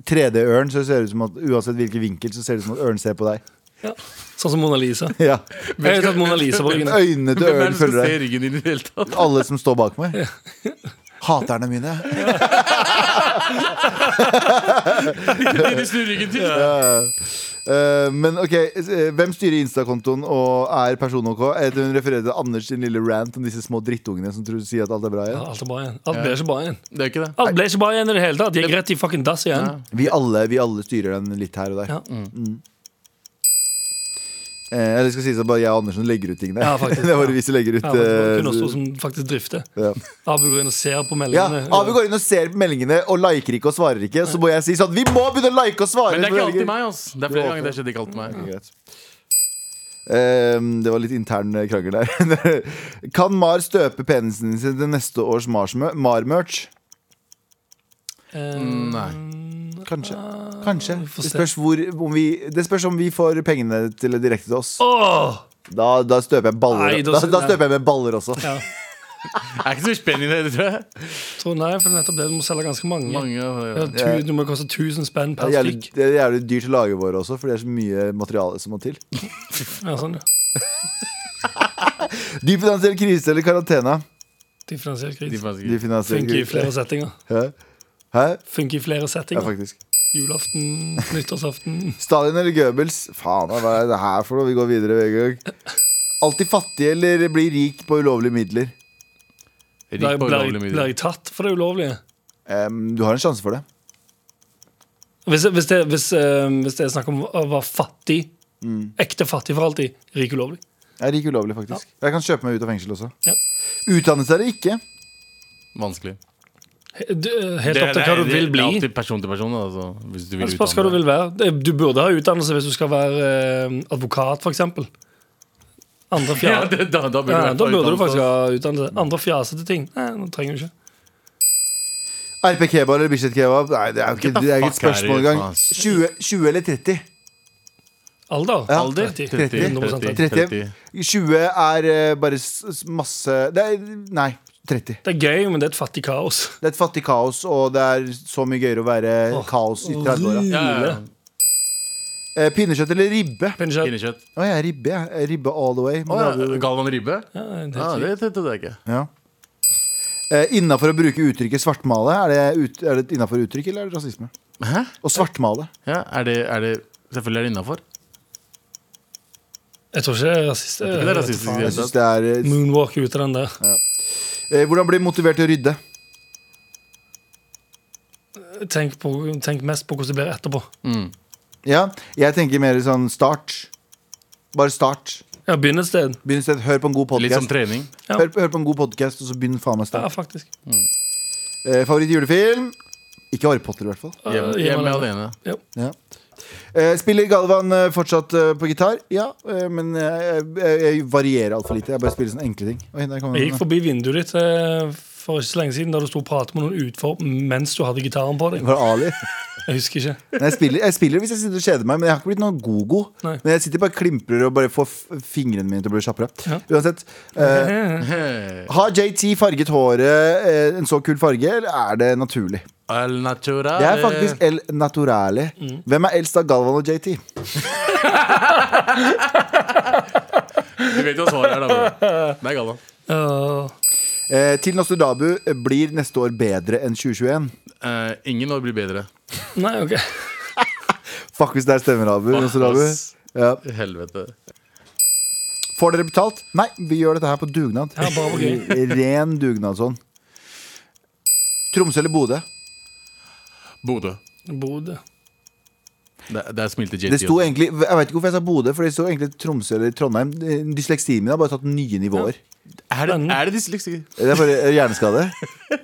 [SPEAKER 3] 3D-ørn, så det ser ut som at uansett hvilken vinkel, så ser det ut som at ørn ser på deg. *laughs*
[SPEAKER 4] ja. Sånn som Mona Lisa.
[SPEAKER 3] Ja.
[SPEAKER 4] Jeg har tatt Mona Lisa på
[SPEAKER 3] *laughs*
[SPEAKER 4] ryggen.
[SPEAKER 3] Øynene til
[SPEAKER 5] Hvem er
[SPEAKER 3] ørn
[SPEAKER 5] det som
[SPEAKER 3] følger
[SPEAKER 5] ser
[SPEAKER 3] deg.
[SPEAKER 5] ryggen din i *laughs* det hele tatt?
[SPEAKER 3] Alle som står bak meg. Haterne mine.
[SPEAKER 5] De snur ryggen til.
[SPEAKER 3] Eh, men ok, eh, hvem styrer Insta-kontoen og er person OK? Eh, Hun refererer til Anders sin lille rant om disse små drittungene som tror sier at alt er bra
[SPEAKER 4] Ja,
[SPEAKER 3] igjen.
[SPEAKER 4] alt er bra igjen. Alt ble ikke bra igjen.
[SPEAKER 5] Det er ikke det.
[SPEAKER 4] Alt ble ikke bra igjen i det hele tatt. De gikk rett i fucking dass igjen.
[SPEAKER 3] Vi alle, vi alle styrer den litt her og der.
[SPEAKER 4] Ja.
[SPEAKER 3] Eh, eller skal sies at bare jeg og Andersen legger ut tingene.
[SPEAKER 4] Ja, faktisk.
[SPEAKER 3] *laughs* det er bare vi som legger ut.
[SPEAKER 4] Ja, men det var
[SPEAKER 3] eh,
[SPEAKER 4] kun oss to som faktisk drifter.
[SPEAKER 3] ja.
[SPEAKER 4] Abu går inn og ser på
[SPEAKER 3] Ja,
[SPEAKER 4] meldingene.
[SPEAKER 3] Abu går inn og ser på meldingene og liker ikke og svarer ikke. Så må jeg si sånn Vi må begynne å like og svare!
[SPEAKER 5] Men det er ikke
[SPEAKER 3] for
[SPEAKER 5] alltid
[SPEAKER 3] meldingen.
[SPEAKER 5] meg, ass. Det er flere ganger det skjedde ikke alltid meg.
[SPEAKER 3] Ok, greit. Ehm, det var litt intern eh, krangel der. *laughs* kan Mar støpe penisen sin til neste års Mars-mø- Mar-merch?
[SPEAKER 4] Eh,
[SPEAKER 5] Mm.
[SPEAKER 3] Kanskje. Kanskje.
[SPEAKER 4] får
[SPEAKER 3] Det
[SPEAKER 4] se.
[SPEAKER 3] spørs, hvor, om vi, det spørs om vi får pengene til direkte til oss.
[SPEAKER 4] åh!
[SPEAKER 3] Da, da støper jeg baller
[SPEAKER 4] Nei, da-
[SPEAKER 3] da, da støper jeg med baller også.
[SPEAKER 4] Ja.
[SPEAKER 5] Det er ikke så mye spenn i det, tror jeg.
[SPEAKER 4] Tror, nei, for nettopp det. Du må selge ganske mange.
[SPEAKER 5] Mange,
[SPEAKER 4] Ja,
[SPEAKER 5] ja.
[SPEAKER 4] tu, du må koste 1000 spenn
[SPEAKER 3] Det
[SPEAKER 4] per
[SPEAKER 3] er, jævlig,
[SPEAKER 4] stykk.
[SPEAKER 3] det er jævlig dyrt å lage våre også, for det er så mye materiale som må til.
[SPEAKER 4] Ja, sånn, ja.
[SPEAKER 3] Dyp finansiell krise eller karantene?
[SPEAKER 4] Differensiert
[SPEAKER 5] De
[SPEAKER 4] krise.
[SPEAKER 5] får sikkert-
[SPEAKER 3] Dyp finansiell
[SPEAKER 4] Funker i
[SPEAKER 3] krise.
[SPEAKER 4] flere settinger.
[SPEAKER 3] Hæ? Hæ?
[SPEAKER 4] Funker i flere
[SPEAKER 3] Ja,
[SPEAKER 4] settinger.
[SPEAKER 3] faktisk.
[SPEAKER 4] Julaften, nyttårsaften.
[SPEAKER 3] Stalin eller Goebbels? Faen, hva er det her for noe? Vi går videre ved en gang. Alltid fattig eller bli rik på ulovlige midler?
[SPEAKER 5] Rik
[SPEAKER 4] Blir
[SPEAKER 5] på
[SPEAKER 4] blir-
[SPEAKER 5] ulovlig
[SPEAKER 4] blir
[SPEAKER 5] middag.
[SPEAKER 4] jeg tatt for det ulovlige?
[SPEAKER 3] Em, du har en sjanse for det.
[SPEAKER 4] Hvis, hvis, det, hvis, eh, hvis det er snakk om å være fattig,
[SPEAKER 5] Mm.
[SPEAKER 4] ekte fattig for alltid, rik ulovlig.
[SPEAKER 3] Jeg er rik ulovlig, faktisk. Jeg kan kjøpe meg ut av fengsel også.
[SPEAKER 4] Ja.
[SPEAKER 3] Utdannelse eller ikke?
[SPEAKER 5] Vanskelig.
[SPEAKER 4] He- du- Helt opp til hva du vil
[SPEAKER 5] Det er
[SPEAKER 4] bli.
[SPEAKER 5] alltid person til person, da, altså, hvis du vil
[SPEAKER 4] Det spørs hva du
[SPEAKER 5] utdanne deg.
[SPEAKER 4] vil være. Det- Du burde ha utdannelse hvis du skal være eh, advokat, f.eks. Andre
[SPEAKER 5] *laughs* Ja,
[SPEAKER 4] fjerde.
[SPEAKER 5] det, da, da burde,
[SPEAKER 4] Ja, da
[SPEAKER 5] du være
[SPEAKER 4] burde du
[SPEAKER 5] utdannet,
[SPEAKER 4] faktisk
[SPEAKER 5] ass.
[SPEAKER 4] ha utdannelse. Andre fjasete ting. Nei, nå trenger du ikke.
[SPEAKER 3] RP kebab eller Bislett kebab? Nei, det er jo
[SPEAKER 5] Get the
[SPEAKER 3] ikke, det er ikke et
[SPEAKER 5] fuck out of
[SPEAKER 3] spørsmål
[SPEAKER 5] here,
[SPEAKER 3] engang.
[SPEAKER 5] ass.
[SPEAKER 3] 20, 20 eller 30?
[SPEAKER 4] Alder?
[SPEAKER 3] Ja.
[SPEAKER 4] Alder? 30.
[SPEAKER 5] 30,
[SPEAKER 4] 100%
[SPEAKER 5] 30,
[SPEAKER 3] 30. 20 er eh, bare s- s- masse det er, Nei, 30.
[SPEAKER 4] Det er gøy, men det er et fattig kaos. *laughs*
[SPEAKER 3] Det er et fattig kaos, og det er så mye gøyere å være kaos i 30-åra.
[SPEAKER 5] Ja, ja, ja.
[SPEAKER 3] Eh, Pinnekjøtt eller ribbe?
[SPEAKER 4] Pinnekjøtt.
[SPEAKER 5] Pinnekjøtt.
[SPEAKER 3] Å, jeg er ribbe. jeg. Jeg er Ribbe all the way. Men
[SPEAKER 5] Å
[SPEAKER 3] det er
[SPEAKER 5] ja. Galvan Ribbe?
[SPEAKER 4] Ja, det
[SPEAKER 5] Ja,
[SPEAKER 4] er helt sykt.
[SPEAKER 5] det tenkte jeg ikke.
[SPEAKER 3] Ja. Eh, innafor å bruke uttrykket svartmale, er det, ut, er det innafor uttrykk eller er det rasisme?
[SPEAKER 5] Hæ?
[SPEAKER 3] Og svartmale.
[SPEAKER 5] Ja, er det, er det Selvfølgelig er det innafor.
[SPEAKER 4] Jeg tror ikke det er rasist.
[SPEAKER 5] Jeg tror ikke det
[SPEAKER 4] Jeg
[SPEAKER 5] er
[SPEAKER 4] vet
[SPEAKER 5] rasistisk.
[SPEAKER 4] Eh,
[SPEAKER 3] Jeg
[SPEAKER 4] faen.
[SPEAKER 5] i det hele
[SPEAKER 3] synes
[SPEAKER 5] tatt.
[SPEAKER 3] det er eh,
[SPEAKER 4] Moonwalk ut av den der.
[SPEAKER 3] eh, Hvordan bli motivert til å rydde?
[SPEAKER 4] Tenk, på, tenk mest på hvordan det blir etterpå.
[SPEAKER 3] Ja, jeg tenker mer sånn start. Bare start.
[SPEAKER 4] Ja, Begynn et sted.
[SPEAKER 3] Begynn sted, Hør på en god
[SPEAKER 5] Litt sånn som
[SPEAKER 3] podkast.
[SPEAKER 5] trening.
[SPEAKER 4] ja.
[SPEAKER 3] Hør, hør på en god podcast, og så begynn faen meg
[SPEAKER 4] Ja,
[SPEAKER 3] sterkt.
[SPEAKER 4] faktisk.
[SPEAKER 3] Eh, Favorittjulefilm? Ikke Harry Potter, i hvert fall.
[SPEAKER 4] Ja,
[SPEAKER 5] Hjemme,
[SPEAKER 4] hjemme
[SPEAKER 5] hjemme
[SPEAKER 4] alene.
[SPEAKER 5] alene.
[SPEAKER 3] Ja. Eh, spiller Galvan eh, fortsatt eh, på gitar? Ja, eh, men eh, jeg, jeg varierer altfor lite. Jeg bare spiller sånne enkle ting. Oi, der kommer
[SPEAKER 4] Jeg gikk
[SPEAKER 3] den.
[SPEAKER 4] forbi vinduet ditt eh, for ikke så lenge siden, da du sto og pratet med noen utfor mens du hadde gitaren på deg.
[SPEAKER 3] Var det Ali?
[SPEAKER 4] Jeg husker ikke.
[SPEAKER 3] Nei, jeg, spiller, jeg spiller hvis jeg sitter og kjeder meg, men jeg har ikke blitt noe god-god.
[SPEAKER 4] Nei.
[SPEAKER 3] Men jeg sitter bare og klimprer og bare får f- fingrene mine til å bli kjappere.
[SPEAKER 4] Ja.
[SPEAKER 3] Uansett. eh, har JT farget håret eh, en så kul farge, eller er det naturlig?
[SPEAKER 5] Al natural.
[SPEAKER 3] Det er faktisk el naturale.
[SPEAKER 4] Mm.
[SPEAKER 3] Hvem er eldst av Galvan og JT?
[SPEAKER 5] Du vet jo hva svaret er, da. bro. Det er Galvan.
[SPEAKER 4] Eh,
[SPEAKER 3] Eh, til Nostradabu eh, blir neste år bedre enn 2021.
[SPEAKER 5] Eh, ingen år blir bedre.
[SPEAKER 4] nei, OK.
[SPEAKER 3] Fuck hvis det er stemmer, Abu. Nostradabu.
[SPEAKER 5] Ass,
[SPEAKER 3] Ja.
[SPEAKER 5] Helvete.
[SPEAKER 3] Får dere betalt? Nei, vi gjør dette her på dugnad.
[SPEAKER 4] Ja, bare på gøy.
[SPEAKER 3] *laughs* Ren dugnad sånn. Tromsø eller Bodø?
[SPEAKER 5] Bodø.
[SPEAKER 4] Bodø.
[SPEAKER 5] Der, der smilte JT.
[SPEAKER 3] Det sto
[SPEAKER 5] også.
[SPEAKER 3] egentlig, Jeg vet ikke hvorfor jeg sa Bodø, for det sto egentlig Tromsø eller Trondheim. Dysleksien min har bare tatt nye nivåer.
[SPEAKER 5] Er det, er det dysleksi?
[SPEAKER 3] Det er bare eh, hjerneskade.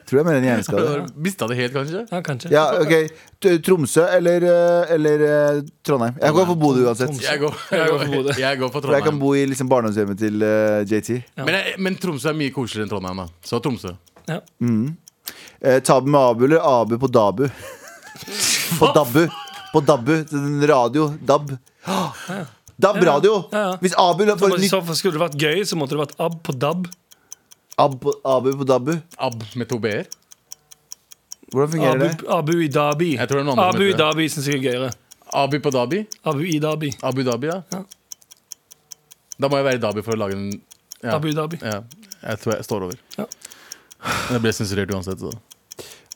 [SPEAKER 3] Tror jeg mer enn hjerneskade.
[SPEAKER 5] Mista det helt, kanskje?
[SPEAKER 4] Ja, kanskje.
[SPEAKER 3] Ja, ok T- Tromsø eller, eh, eller eh, Trondheim. Jeg går for Bodø uansett.
[SPEAKER 4] Tromsø.
[SPEAKER 5] Jeg går,
[SPEAKER 4] Jeg går for Bodø.
[SPEAKER 5] *laughs* jeg går for
[SPEAKER 3] For jeg kan
[SPEAKER 5] Trondheim.
[SPEAKER 3] bo i liksom barndomshjemmet til eh, JT.
[SPEAKER 5] Men, jeg, men Tromsø er mye koseligere enn Trondheim, da. Så Tromsø.
[SPEAKER 4] Ja.
[SPEAKER 3] Eh, Tabu med Abu eller Abu på Dabu?
[SPEAKER 4] *laughs*
[SPEAKER 3] på Dabbu. På Dabbu. Radio. Dab. Dab radio.
[SPEAKER 4] Ja, ja.
[SPEAKER 3] Hvis Abu la for
[SPEAKER 4] Men i
[SPEAKER 3] nytt
[SPEAKER 4] så fall skulle det vært gøy, så måtte det vært ab på dab.
[SPEAKER 3] Ab, Abu på Dabbu,
[SPEAKER 5] Ab med to b-er.
[SPEAKER 3] hvordan fungerer det?
[SPEAKER 4] Abu, Abu Idabi.
[SPEAKER 5] Jeg tror det er noen andre som
[SPEAKER 4] Abu
[SPEAKER 5] heter det.
[SPEAKER 4] Idabi syns jeg er gøyere.
[SPEAKER 5] Abi på Dabi.
[SPEAKER 4] Abu Idabi.
[SPEAKER 5] Abu Dhabi, ja.
[SPEAKER 4] Ja.
[SPEAKER 5] Da må jeg være i Dhabi for å lage en ja.
[SPEAKER 4] Abu Dhabi.
[SPEAKER 5] Ja. Jeg tror jeg står over.
[SPEAKER 4] Ja.
[SPEAKER 5] Jeg ble sensurert uansett. Så.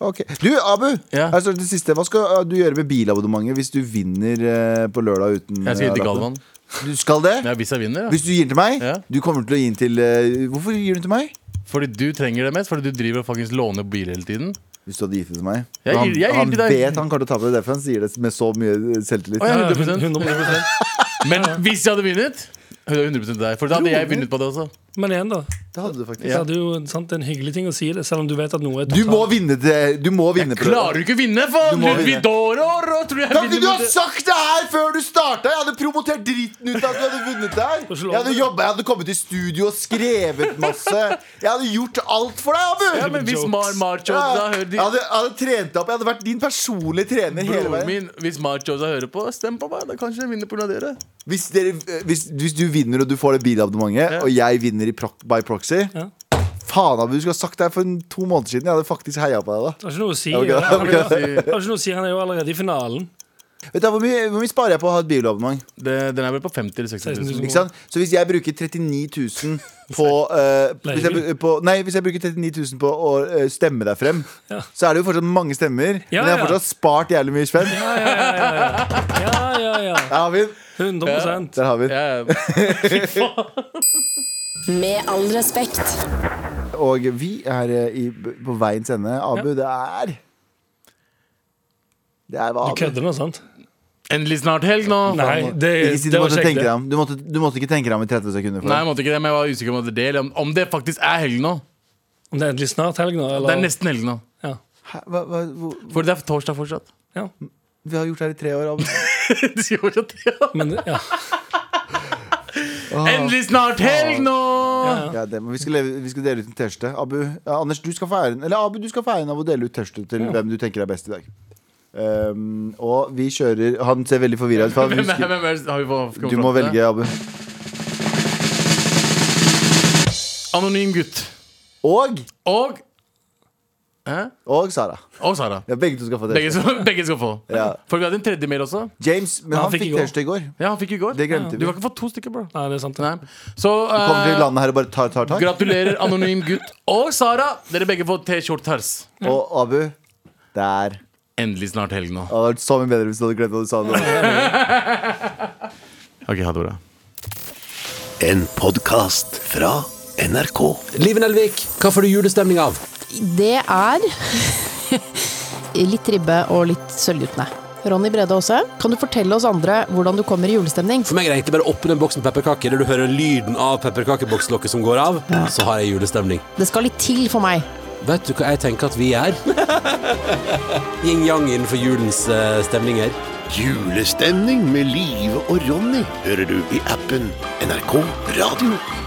[SPEAKER 3] Ok. Du, Abu!
[SPEAKER 5] Ja.
[SPEAKER 3] Her står Altså, det siste. Hva skal eh, du gjøre med bilabonnementet hvis du vinner eh, på lørdag uten
[SPEAKER 5] Jeg skal
[SPEAKER 3] eh,
[SPEAKER 5] gi til
[SPEAKER 3] lappen?
[SPEAKER 5] Galvan.
[SPEAKER 3] Du skal det?
[SPEAKER 5] Ja, hvis jeg vinner, ja.
[SPEAKER 3] Hvis du gir den til meg?
[SPEAKER 5] Ja.
[SPEAKER 3] Du kommer til å gi den til eh, Hvorfor gir du den til meg?
[SPEAKER 5] Fordi du trenger det mest. Fordi du driver og faktisk låner bil hele tiden.
[SPEAKER 3] Hvis du hadde gitt det til meg?
[SPEAKER 5] Jeg
[SPEAKER 3] han
[SPEAKER 5] gir- jeg gir
[SPEAKER 3] han
[SPEAKER 5] det til deg.
[SPEAKER 3] vet han kommer til å tape det, derfor han sier det med så mye eh, selvtillit.
[SPEAKER 5] Å, ja,
[SPEAKER 4] Ja,
[SPEAKER 5] 100%.
[SPEAKER 4] 100%.
[SPEAKER 5] Men hvis jeg hadde vunnet, 100 til deg. For da hadde jeg vunnet på det også.
[SPEAKER 4] Men igjen, da.
[SPEAKER 3] Det hadde du faktisk.
[SPEAKER 4] Så er det jo sant, det er en hyggelig ting å si det, selv om du vet at noe er
[SPEAKER 3] Du må vinne til Du må vinne på lørdag.
[SPEAKER 5] Klarer du ikke å vinne, faen?
[SPEAKER 3] må
[SPEAKER 5] Ludvig
[SPEAKER 3] vinne.
[SPEAKER 5] Doror! og Tror jeg
[SPEAKER 3] Kan ikke
[SPEAKER 5] vinner
[SPEAKER 3] du
[SPEAKER 5] med
[SPEAKER 3] ha
[SPEAKER 5] det.
[SPEAKER 3] sagt det her før du starta? Jeg hadde promotert dritten ut av at du hadde vunnet det her.
[SPEAKER 4] slå
[SPEAKER 3] Jeg hadde
[SPEAKER 4] det.
[SPEAKER 3] jobbet, jeg hadde kommet i studio og skrevet masse. Jeg hadde gjort alt for deg, Abu.
[SPEAKER 5] Ja, men hvis
[SPEAKER 4] Jokes.
[SPEAKER 5] Mar Marchos
[SPEAKER 3] Ja,
[SPEAKER 5] da hører
[SPEAKER 3] jeg,
[SPEAKER 5] de
[SPEAKER 3] hadde, jeg hadde trent opp. Jeg hadde vært din personlige trener hele
[SPEAKER 5] Broren
[SPEAKER 3] veien.
[SPEAKER 5] min, hvis Marchos da hører på, stem på meg. Da kanskje jeg vinner pga. dere.
[SPEAKER 3] Hvis, dere, eh, hvis, hvis du vinner og du får det bilabonnementet, og jeg vinner i proc by proxy
[SPEAKER 4] Ja.
[SPEAKER 3] Faen, Abu, du skulle ha sagt det her for en- to måneder siden. Jeg hadde faktisk heia på deg da.
[SPEAKER 4] Det har ikke noe å si.
[SPEAKER 3] Ok,
[SPEAKER 4] ja. Han er jo-
[SPEAKER 3] ok.
[SPEAKER 4] han har ikke noe å si, Han er jo allerede i finalen.
[SPEAKER 3] Vet du, hva, hvor, mye, hvor mye sparer jeg på å ha et bilabonnement?
[SPEAKER 5] Det, den er vel på 50 eller 60
[SPEAKER 4] 16
[SPEAKER 5] 000.
[SPEAKER 4] 000.
[SPEAKER 3] Ikke sant? Så hvis jeg bruker 39
[SPEAKER 4] *laughs*
[SPEAKER 3] 000 på, eh, hvis jeg, bru- på Nei, hvis jeg bruker 39 000 på å eh, stemme deg frem,
[SPEAKER 4] Ja.
[SPEAKER 3] så er det jo fortsatt mange stemmer.
[SPEAKER 4] Ja,
[SPEAKER 3] men jeg har
[SPEAKER 4] ja.
[SPEAKER 3] fortsatt spart jævlig mye spenn.
[SPEAKER 4] Ja, ja, ja. ja, ja. ja, ja, ja.
[SPEAKER 3] Der har vi den.
[SPEAKER 4] 100
[SPEAKER 3] Der har vi den.
[SPEAKER 5] Ja, ja.
[SPEAKER 6] Med all respekt.
[SPEAKER 3] Og vi er eh, i, på veiens ende. Abu, det er Det er hva
[SPEAKER 4] Du
[SPEAKER 3] Abu
[SPEAKER 4] kødder nå, sant?
[SPEAKER 5] Endelig snart helg nå.
[SPEAKER 4] Nei,
[SPEAKER 3] Ikke
[SPEAKER 4] det,
[SPEAKER 3] si
[SPEAKER 4] det
[SPEAKER 3] du,
[SPEAKER 4] var
[SPEAKER 3] måtte
[SPEAKER 4] ikke
[SPEAKER 3] tenke deg
[SPEAKER 4] ekte.
[SPEAKER 3] om. Du, måtte, du måtte ikke tenke deg om i 30 sekunder.
[SPEAKER 5] Nei,
[SPEAKER 3] For.
[SPEAKER 5] jeg måtte ikke det, men jeg var usikker om det, eller om- om det faktisk er helg nå.
[SPEAKER 4] Om det er endelig snart helg nå, eller?
[SPEAKER 5] Det er nesten helg nå.
[SPEAKER 4] Ja.
[SPEAKER 3] Hæ, Hva, hva, hvor-
[SPEAKER 5] For det er torsdag fortsatt. *laughs*
[SPEAKER 4] ja.
[SPEAKER 3] vi har gjort det her i tre år, Abu.
[SPEAKER 5] De sier fortsatt ja.
[SPEAKER 4] Men ja.
[SPEAKER 5] Endelig snart helg nå!
[SPEAKER 3] Ja, det, men vi, skal leve, vi skal dele ut en T-skjorte. Abu, ja, Anders, du skal få æren Eller Abu, du skal få æren av å dele ut T-skjorte til hvem du tenker er best i dag. Um, og vi kjører Han ser veldig forvirra ut. for han
[SPEAKER 5] *laughs* Hvem er,
[SPEAKER 3] husker-
[SPEAKER 5] hvem er, har vi fått- kommet
[SPEAKER 3] Du må
[SPEAKER 5] fram til
[SPEAKER 3] velge,
[SPEAKER 5] det?
[SPEAKER 3] Abu.
[SPEAKER 5] Anonym gutt.
[SPEAKER 3] Og,
[SPEAKER 5] Og Hæ?
[SPEAKER 3] og Sara.
[SPEAKER 5] Og Sara.
[SPEAKER 3] Ja, begge to skal få
[SPEAKER 5] Begge,
[SPEAKER 3] T-skjorte.
[SPEAKER 5] skal- *laughs* begge skal få.
[SPEAKER 3] Ja.
[SPEAKER 5] For vi hadde en tredje mail også.
[SPEAKER 3] James, men
[SPEAKER 4] Ja,
[SPEAKER 3] han
[SPEAKER 4] han fikk
[SPEAKER 3] fikk
[SPEAKER 4] i går.
[SPEAKER 3] T-skjorte i går.
[SPEAKER 5] Ja, han fikk i går.
[SPEAKER 3] Det glemte vi.
[SPEAKER 5] Du har ikke fått to stykker, bro.
[SPEAKER 4] Nei, det er sant. det.
[SPEAKER 5] Nei. Så eh,
[SPEAKER 3] Kommer til landet her og bare tar tar tak.
[SPEAKER 5] gratulerer, anonym gutt og Sara. Dere begge får T-skjorters.
[SPEAKER 3] Og Abu, der.
[SPEAKER 5] Endelig snart helg nå.
[SPEAKER 3] Det hadde vært så mye bedre hvis du hadde glemt hva du sa. nå.
[SPEAKER 5] Ok, ha det bra.
[SPEAKER 9] En podkast fra NRK.
[SPEAKER 10] Liven Elvik, hva får du julestemning av?
[SPEAKER 11] Det er *laughs* litt ribbe og litt sølvguttene. Ronny Brede Aase, kan du fortelle oss andre hvordan du kommer i julestemning?
[SPEAKER 10] For meg er det egentlig bare å åpne en boks med pepperkaker, der du hører lyden av pepperkakebokslokket som går av, så har jeg julestemning.
[SPEAKER 11] Det skal litt til for meg.
[SPEAKER 10] Vet du hva jeg tenker at vi er? *laughs* Yin-yang innenfor julens eh, stemninger.
[SPEAKER 9] Julestemning med Live og Ronny hører du i appen NRK Radio.